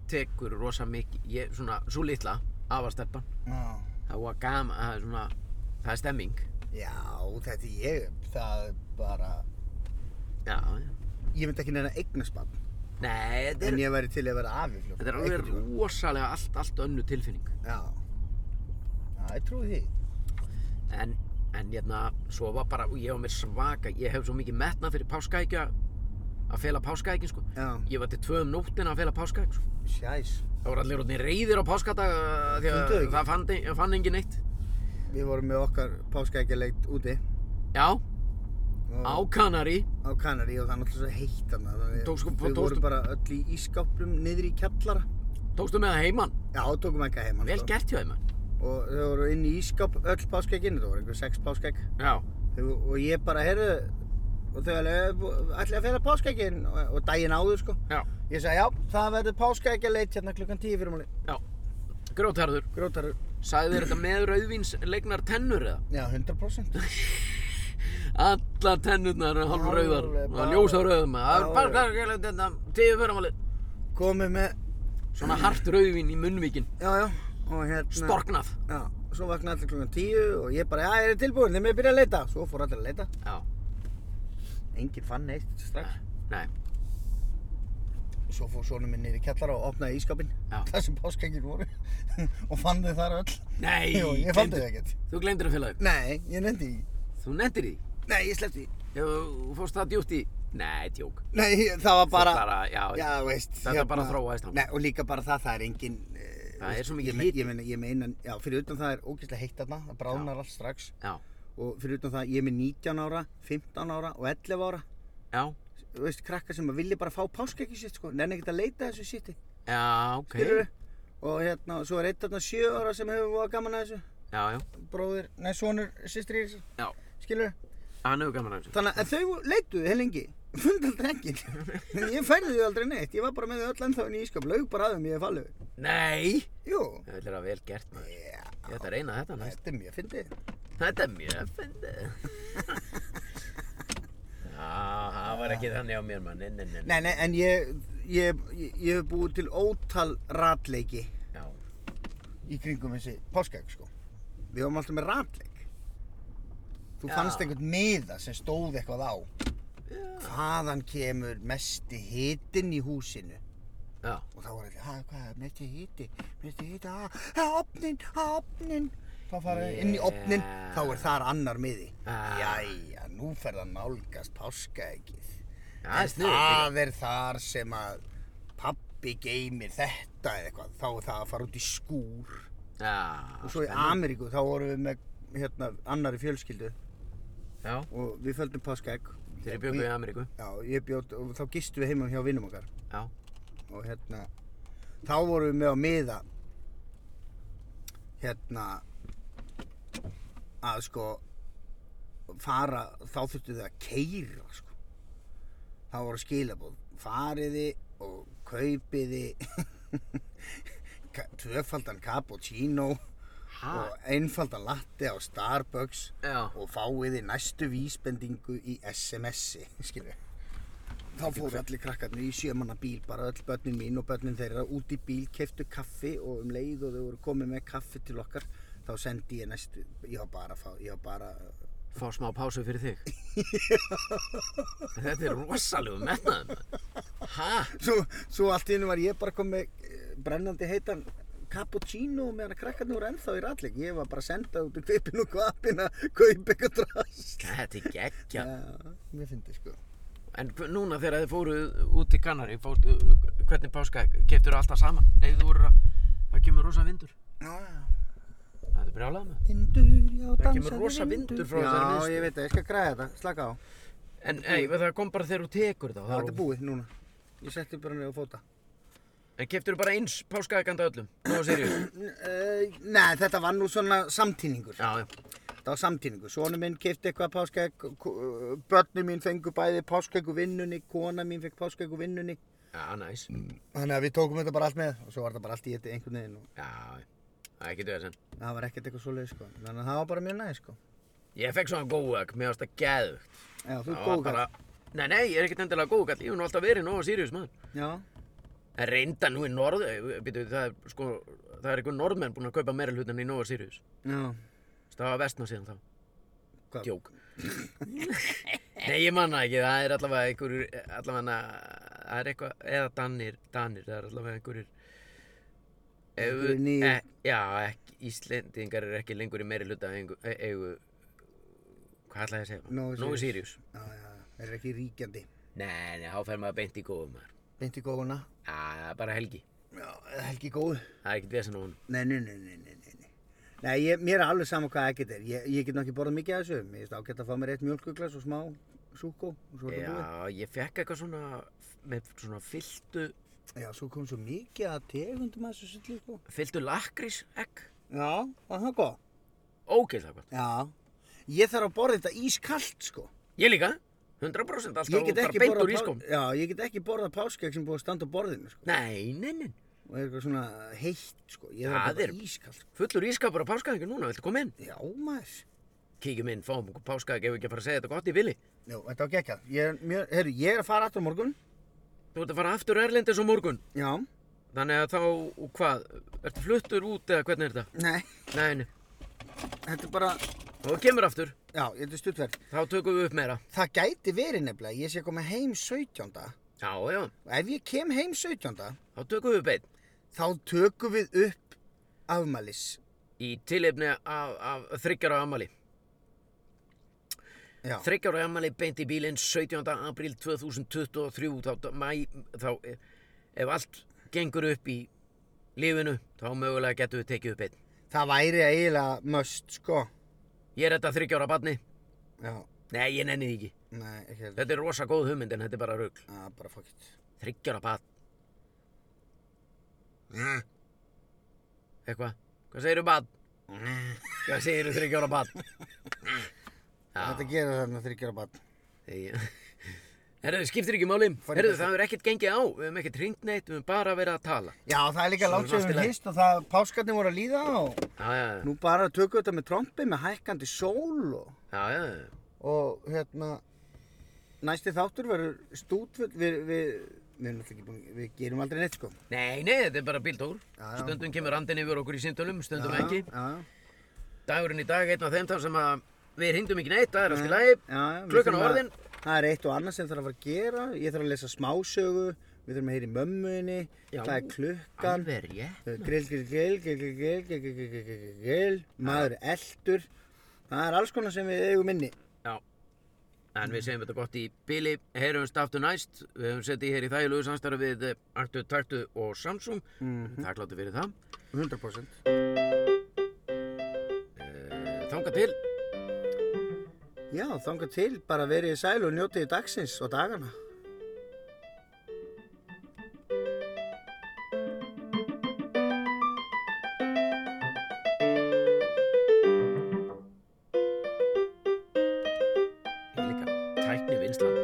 Speaker 1: tekur rosa mikið, ég, svona, svo litla, afarstelpan,
Speaker 2: Já.
Speaker 1: það var gama, það er svona, það er stemming.
Speaker 2: Já, þetta er ég, það er bara,
Speaker 1: Já, já.
Speaker 2: ég myndi ekki neina eignast bann,
Speaker 1: Nei, þetta er,
Speaker 2: en ég væri til að vera afi fljótt.
Speaker 1: þetta er alveg rosalega allt, allt önnu tilfinning.
Speaker 2: Já, já, ég trúi því.
Speaker 1: En, en, hérna, svo var bara, og ég var mér svaka, ég hef svo mikið metnað fyrir páskaækja, að fela páskaækin, sko.
Speaker 2: Já,
Speaker 1: Ég var til tvö um nóttina að fela páskaæk, sko.
Speaker 2: sjæs,
Speaker 1: Það voru allir orðin reyðir á páskadag, uh, því að
Speaker 2: Fundu þau ekki?
Speaker 1: það fann, fann engin neitt.
Speaker 2: við vorum með okkar páskaeggjaleik úti
Speaker 1: Já, á
Speaker 2: og-
Speaker 1: Kanari
Speaker 2: á Kanari og það er náttúrulega svo heitt hann, þannig að
Speaker 1: Tók sko-
Speaker 2: við
Speaker 1: tókstu-
Speaker 2: vorum bara öll í ískáplum niður í kjallara.
Speaker 1: Tókstu með það heiman,
Speaker 2: Já, tókum ekki heim hann.
Speaker 1: vel gert hjá þeim
Speaker 2: Og þau voru inn í ískáp, öll páskaegginn, það voru einhver sex páskaegg.
Speaker 1: Já,
Speaker 2: Þau- Og ég bara, heyrðu, og þau alveg, ætlaði að fela páskaegginn og, og daginn áður, sko.
Speaker 1: já,
Speaker 2: Ég sagði, já, það verður páskaeggjaleik hérna klukkan 10 fyrir máli.
Speaker 1: já Grótarður,
Speaker 2: Grótarur.
Speaker 1: sagði þér þetta með rauðvins legnar tennur eða?
Speaker 2: Já, 100%.
Speaker 1: Allar tennurnar er hálf
Speaker 2: Alveg
Speaker 1: rauðar
Speaker 2: bara-
Speaker 1: og ljósa rauðum Það
Speaker 2: Já,
Speaker 1: er bara gælega þetta, tíu fyrramáli
Speaker 2: Komið með, Mm.
Speaker 1: Svona hart rauðvin í munnvíkin,
Speaker 2: já, já, og hérna.
Speaker 1: storknað
Speaker 2: Já, svo vaknaði allir klukkan 10 og ég bara, já, ég er tilbúin, þeim er byrjað að leita. Svo fór allir að leita.
Speaker 1: Já,
Speaker 2: Engin fann neitt strax.
Speaker 1: nei,
Speaker 2: Svo fór sonum minn niður í kjallara og opnaði ískapinn.
Speaker 1: Já.
Speaker 2: Það sem páskækir voru. og fann þau þar öll.
Speaker 1: nei
Speaker 2: Jú, ég fann þau ekkert.
Speaker 1: Þú glemdir að félag,
Speaker 2: Nei, ég nefndi því.
Speaker 1: þú nendir því
Speaker 2: Nei, ég sleppti því.
Speaker 1: Ef Þú fórst það djúpt í, nei, tjók
Speaker 2: Nei, það var bara...
Speaker 1: bara- já,
Speaker 2: já, veist. hérna-
Speaker 1: þetta bara þróaðist hann.
Speaker 2: Nei, og líka bara það, það er engin... Uh,
Speaker 1: Það er svo mikið
Speaker 2: ég, me- ég meina, ég meina, já, fyrir utan það er ógeðslega heitt þarna, það bráðnar allt strax.
Speaker 1: Já,
Speaker 2: Og fyrir utan það, ég er með 19 ára, 15 ára og 11 ára.
Speaker 1: já,
Speaker 2: Þú veist, krakkar sem að vilja bara fá páskækju sitt, sko. Nenni ekkert að leita að þessu sitti.
Speaker 1: já, ok
Speaker 2: Skilurðu? Og hérna, svo er eitt þarna 7 ára sem hefur voða gaman að þessu.
Speaker 1: Já, já,
Speaker 2: Bróðir, nei, sonur, systri í þessu.
Speaker 1: já,
Speaker 2: Skilur?
Speaker 1: hann hefur gaman af þessu
Speaker 2: Þannig að þau leituðu hel lengi. Fund aldrei engin. ég færði þau aldrei neitt. Ég var bara með þau öll ennþá inn í ískap. Laug bara aðum ég er fallið.
Speaker 1: Nei
Speaker 2: Jú.
Speaker 1: Það vil vera vel gert maður.
Speaker 2: Já,
Speaker 1: Ég ætla að reyna þetta næst.
Speaker 2: þetta er mjög fyndið.
Speaker 1: Þetta er mjög fyndið. Já, það var ekki þannig á mér maður. Nei, nei, nei.
Speaker 2: Nei, nei, en ég, ég, ég, ég hef búið til ótal ratleiki
Speaker 1: Já,
Speaker 2: í kringum þessi páskaegg, sko. Við varum alltaf með ratleik. Þú
Speaker 1: Já.
Speaker 2: fannst einhvern miða sem stóð eitthvað á. Hvaðan kemur mesti hitinn í húsinu?
Speaker 1: já,
Speaker 2: Og þá var allir, hæ, hvað, mesti hiti, mesti hiti, hæ, hæ, opnin, hæ, opnin. Þá fara yeah. inn í opnin,
Speaker 1: Yeah.
Speaker 2: þá er þar annar miði.
Speaker 1: Ah.
Speaker 2: Jæja, nú fer það nálgast páskaeggið.
Speaker 1: það er sniðið.
Speaker 2: Það er þar sem að pappi geymir þetta eða eitthvað. Þá er það að fara út í skúr.
Speaker 1: Já,
Speaker 2: og svo í
Speaker 1: Ah, spennandi.
Speaker 2: Ameríku þá vorum við með hérna annari fjölskyldu
Speaker 1: Já,
Speaker 2: og við földum páskaegg.
Speaker 1: þeir eru bjökuð í Ameríku.
Speaker 2: Já, ég bjótt og þá gistum við heima hjá vinnum okkar
Speaker 1: Já,
Speaker 2: og hérna þá vorum við með á miða hérna að sko fara, þá þurftu þau að keira sko. þá voru skilabóð fariði og kaupiði ka- tvöfaldan cappuccino
Speaker 1: hæ?
Speaker 2: og einfaldan latte á Starbucks
Speaker 1: Já,
Speaker 2: og fáiði næstu vísbendingu í SMS-i, skilju. Þá fóru allir krakkarnir í sjömanna bíl, bara öll börnin mín og börnin þeirra út í bíl, keftu kaffi og um leið og þau voru komið með kaffi til okkar, þá sendi ég næstu, ég var bara, að fá, ég var bara,
Speaker 1: fá smá pásu fyrir þig. Þetta er rosalegu metnaður maður. Hæ?
Speaker 2: svo, svo allt í hennu var ég bara komið eh, brennandi heitan cappuccino meðan að krakkarnir voru ennþá í ratleik, ég var bara að senda út í kvipin og kvapin að kaupa eitthvað drast.
Speaker 1: Þetta er geggja.
Speaker 2: Já, mér finnst sko.
Speaker 1: En p- núna þegar þið fóruð út til Kanari, fórst, uh, hvernig páska, keftur alltaf saman? Nei, þú voru að, það kemur rosa vindur.
Speaker 2: Já, já.
Speaker 1: Það er brjálað með.
Speaker 2: Vindur, já, dansaði
Speaker 1: kemur rosa vindur frá
Speaker 2: já,
Speaker 1: þessari miðstöð.
Speaker 2: ég veit það, ég skal græða þetta, slaka á
Speaker 1: En ei, það kom bara þegar þú tekur þá.
Speaker 2: Það er þetta búið núna. Ég setti bara niður á fóta.
Speaker 1: En keftur þú bara eins páskaðeganda öllum? Nú á sériu.
Speaker 2: Eh, Nei, þetta var nú svona samtíningur.
Speaker 1: já, já.
Speaker 2: Þetta var samtíningur. Sónu minn kifti eitthvað páskaegg, börni mín fengu bæði páskaegg úr vinnunni, kona mín fekk páskaegg úr vinnunni.
Speaker 1: Já, næs.
Speaker 2: Þannig að við tókum þetta bara allt með og svo var þetta bara allt í þetta einhvern veginn og
Speaker 1: Já, já. það er ekki döða sem.
Speaker 2: það var ekkert eitthvað svoleið sko. Þannig að það var bara mjög næði sko.
Speaker 1: Ég fekk svona góðag, mér varst það geðugt.
Speaker 2: Já, þú
Speaker 1: Það
Speaker 2: er
Speaker 1: var
Speaker 2: góð
Speaker 1: bara- Nei, nei, ég er ekkert endilega góðgall. Ég hef nú alltaf verið nú á sérius, maður.
Speaker 2: Já,
Speaker 1: En reynda nú í norð, býtu, það er sko, það er einhver norðmenn búin að kaupa meira hlut enn í Nova Sirius.
Speaker 2: já.
Speaker 1: Það var vestna síðan þá,
Speaker 2: Hvað?
Speaker 1: djók. Nei, ég manna ekki, það er allavega einhverjur, allavega, það er eitthvað, eða danir, danir, það er allavega einhverjur. ef-
Speaker 2: Einhverjir nýir.
Speaker 1: e, já, ekki, Íslendingar eru ekki lengur í meiri hluta eigu, eigu hvað ætlaði ég að segja?
Speaker 2: Nova
Speaker 1: Nova
Speaker 2: Sirius.
Speaker 1: Sirius.
Speaker 2: Já, já, það er ekki ríkjandi.
Speaker 1: Nei, nei, þá fer maður beint í góðum maður.
Speaker 2: Beint í góðuna.
Speaker 1: Já, það er bara helgi.
Speaker 2: Já, eða helgi góð.
Speaker 1: Það er ekkert vesen á honum.
Speaker 2: Nei, nei, nei, nei, nei, nei. nei. Nei, ég, mér er alveg sama hvað ekkert er. Ég, ég get nokkið borðað mikið af þessu. Mér finnst ágætt að fá mér eitt mjölkuglas og smá súkó og svo er þetta búið.
Speaker 1: Já, ég fekk eitthvað svona með svona fylltu,
Speaker 2: Já, svo kom svo mikið að tegundum að þessu sýtlu, sko.
Speaker 1: fylltu lakrís egg
Speaker 2: Já, var það góð?
Speaker 1: Ógeðslega gott
Speaker 2: Já. Ég þarf að borða þetta ískalt, sko.
Speaker 1: Ég líka, 100% alltaf
Speaker 2: Ég
Speaker 1: og
Speaker 2: get
Speaker 1: bara
Speaker 2: ekki
Speaker 1: beint úr
Speaker 2: borðað
Speaker 1: ískom
Speaker 2: pá- Já, ég get ekki borðað páskegg sem er búið að standa á borðinu, sko.
Speaker 1: Nei, nei, nei,
Speaker 2: Og er eitthvað svona heitt, sko. Ég
Speaker 1: Það
Speaker 2: þarf að
Speaker 1: er-
Speaker 2: borða ískalt. sko.
Speaker 1: fullur ískapur á páskaðingu núna, viltu koma inn?
Speaker 2: Já, maður.
Speaker 1: Kíkjum inn, fáum okkur páskaðing ef við ekki að fara að segja þetta gott í vili
Speaker 2: Jú, þetta var geggjað. Ég, er mjög- heyrðu, ég er að fara aftur á morgun.
Speaker 1: Þú ert að fara aftur Erlendis á morgun
Speaker 2: Já.
Speaker 1: Þannig að þá, og hvað, ertu fluttur út eða hvernig er þetta?
Speaker 2: Nei,
Speaker 1: Nei, nei,
Speaker 2: þetta er bara,
Speaker 1: og þú kemur aftur,
Speaker 2: já, þetta er stuttverð.
Speaker 1: þá tökum við upp meira
Speaker 2: Það gæti verið nefnilega, ég sé að koma heim 17.
Speaker 1: Já, já,
Speaker 2: Og ef ég kem heim 17.
Speaker 1: þá tökum við beint
Speaker 2: þá tökum við upp afmælis.
Speaker 1: Í tilefni af, af þryggjara amali
Speaker 2: Já,
Speaker 1: Þryggjára ammali beint í bílinn 17. apríl 2023 þá, mæ, þá eh, ef allt gengur upp í lífinu þá mögulega getum við tekið upp einn.
Speaker 2: það væri eiginlega möst, sko.
Speaker 1: Ég er þetta þryggjára barni.
Speaker 2: Já,
Speaker 1: Nei, ég nenni því ekki.
Speaker 2: nei, ekki heldur.
Speaker 1: Þetta er rosa góð hugmynd en þetta er bara rugl.
Speaker 2: Já, bara fokkitt.
Speaker 1: Þryggjára barn. Eitthvað? Hvað segirðu barn? Hvað segirðu þryggjára barn?
Speaker 2: Þetta gera þarna þryggjara barn.
Speaker 1: Þegar... Herðu, skiptir ekki máli.
Speaker 2: Fór í
Speaker 1: Herðu,
Speaker 2: burtu.
Speaker 1: það hefur ekkert gengið á. Við hefum ekkert hringt neitt, við hefum bara verið að tala.
Speaker 2: Já, það er líka
Speaker 1: Svo er
Speaker 2: langt
Speaker 1: allt í
Speaker 2: sem við
Speaker 1: lagi.
Speaker 2: hýst og það, páskarnir voru að líða og
Speaker 1: Já, já, já.
Speaker 2: nú bara tökum við þetta með trompi með hækkandi sól og,
Speaker 1: já, já, já.
Speaker 2: og hérna, næsti þáttur verður stútfull, við, við, við, erum náttúrulega ekki búin- við gerum aldrei neitt, sko.
Speaker 1: Nei, nei, þetta er bara bíltúr.
Speaker 2: Já, já.
Speaker 1: Stundum kemur andin yfir okkur í símtölum, stundum
Speaker 2: Já,
Speaker 1: ekki.
Speaker 2: Já, já.
Speaker 1: Dagurinn í dag er einn af þeim þar sem að við hringdum ekki neitt, það er allt í lagi.
Speaker 2: Já, já, við
Speaker 1: Klukkan á
Speaker 2: þurfum að-
Speaker 1: orðin.
Speaker 2: Það er eitt og annað sem þarf að fara að gera Ég þarf að lesa smásögu Við þurfum að heyra í mömmuðinni
Speaker 1: Já.
Speaker 2: Það er klukkan
Speaker 1: Alveg rétt.
Speaker 2: Grill, grill, grill, grill, grill, grill, grill, grill, grill, grill, grill, grill Maður er eldur Það er alls konar sem við eigum inni
Speaker 1: Já. En við segjum þetta gott í bíli, heyrumst aftur næst. Við höfum setið hér í þægilegu samstarfi við eh, Artu, Taktu og Samsung. Mm
Speaker 2: Mhm.
Speaker 1: -hmm. Þakkláttu fyrir það.
Speaker 2: 100%
Speaker 1: Eh, Þangað til.
Speaker 2: Já, þangað til bara verið í sælu og njótið í dagsins og dagana
Speaker 1: Ég líka tækni vinslan.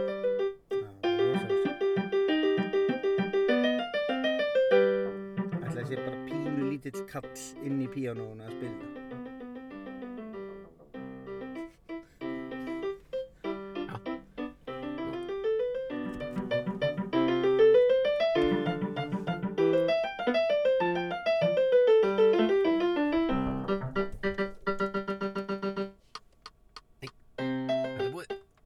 Speaker 2: Ætli að sé bara pínu lítill kall inn í píanónu að spila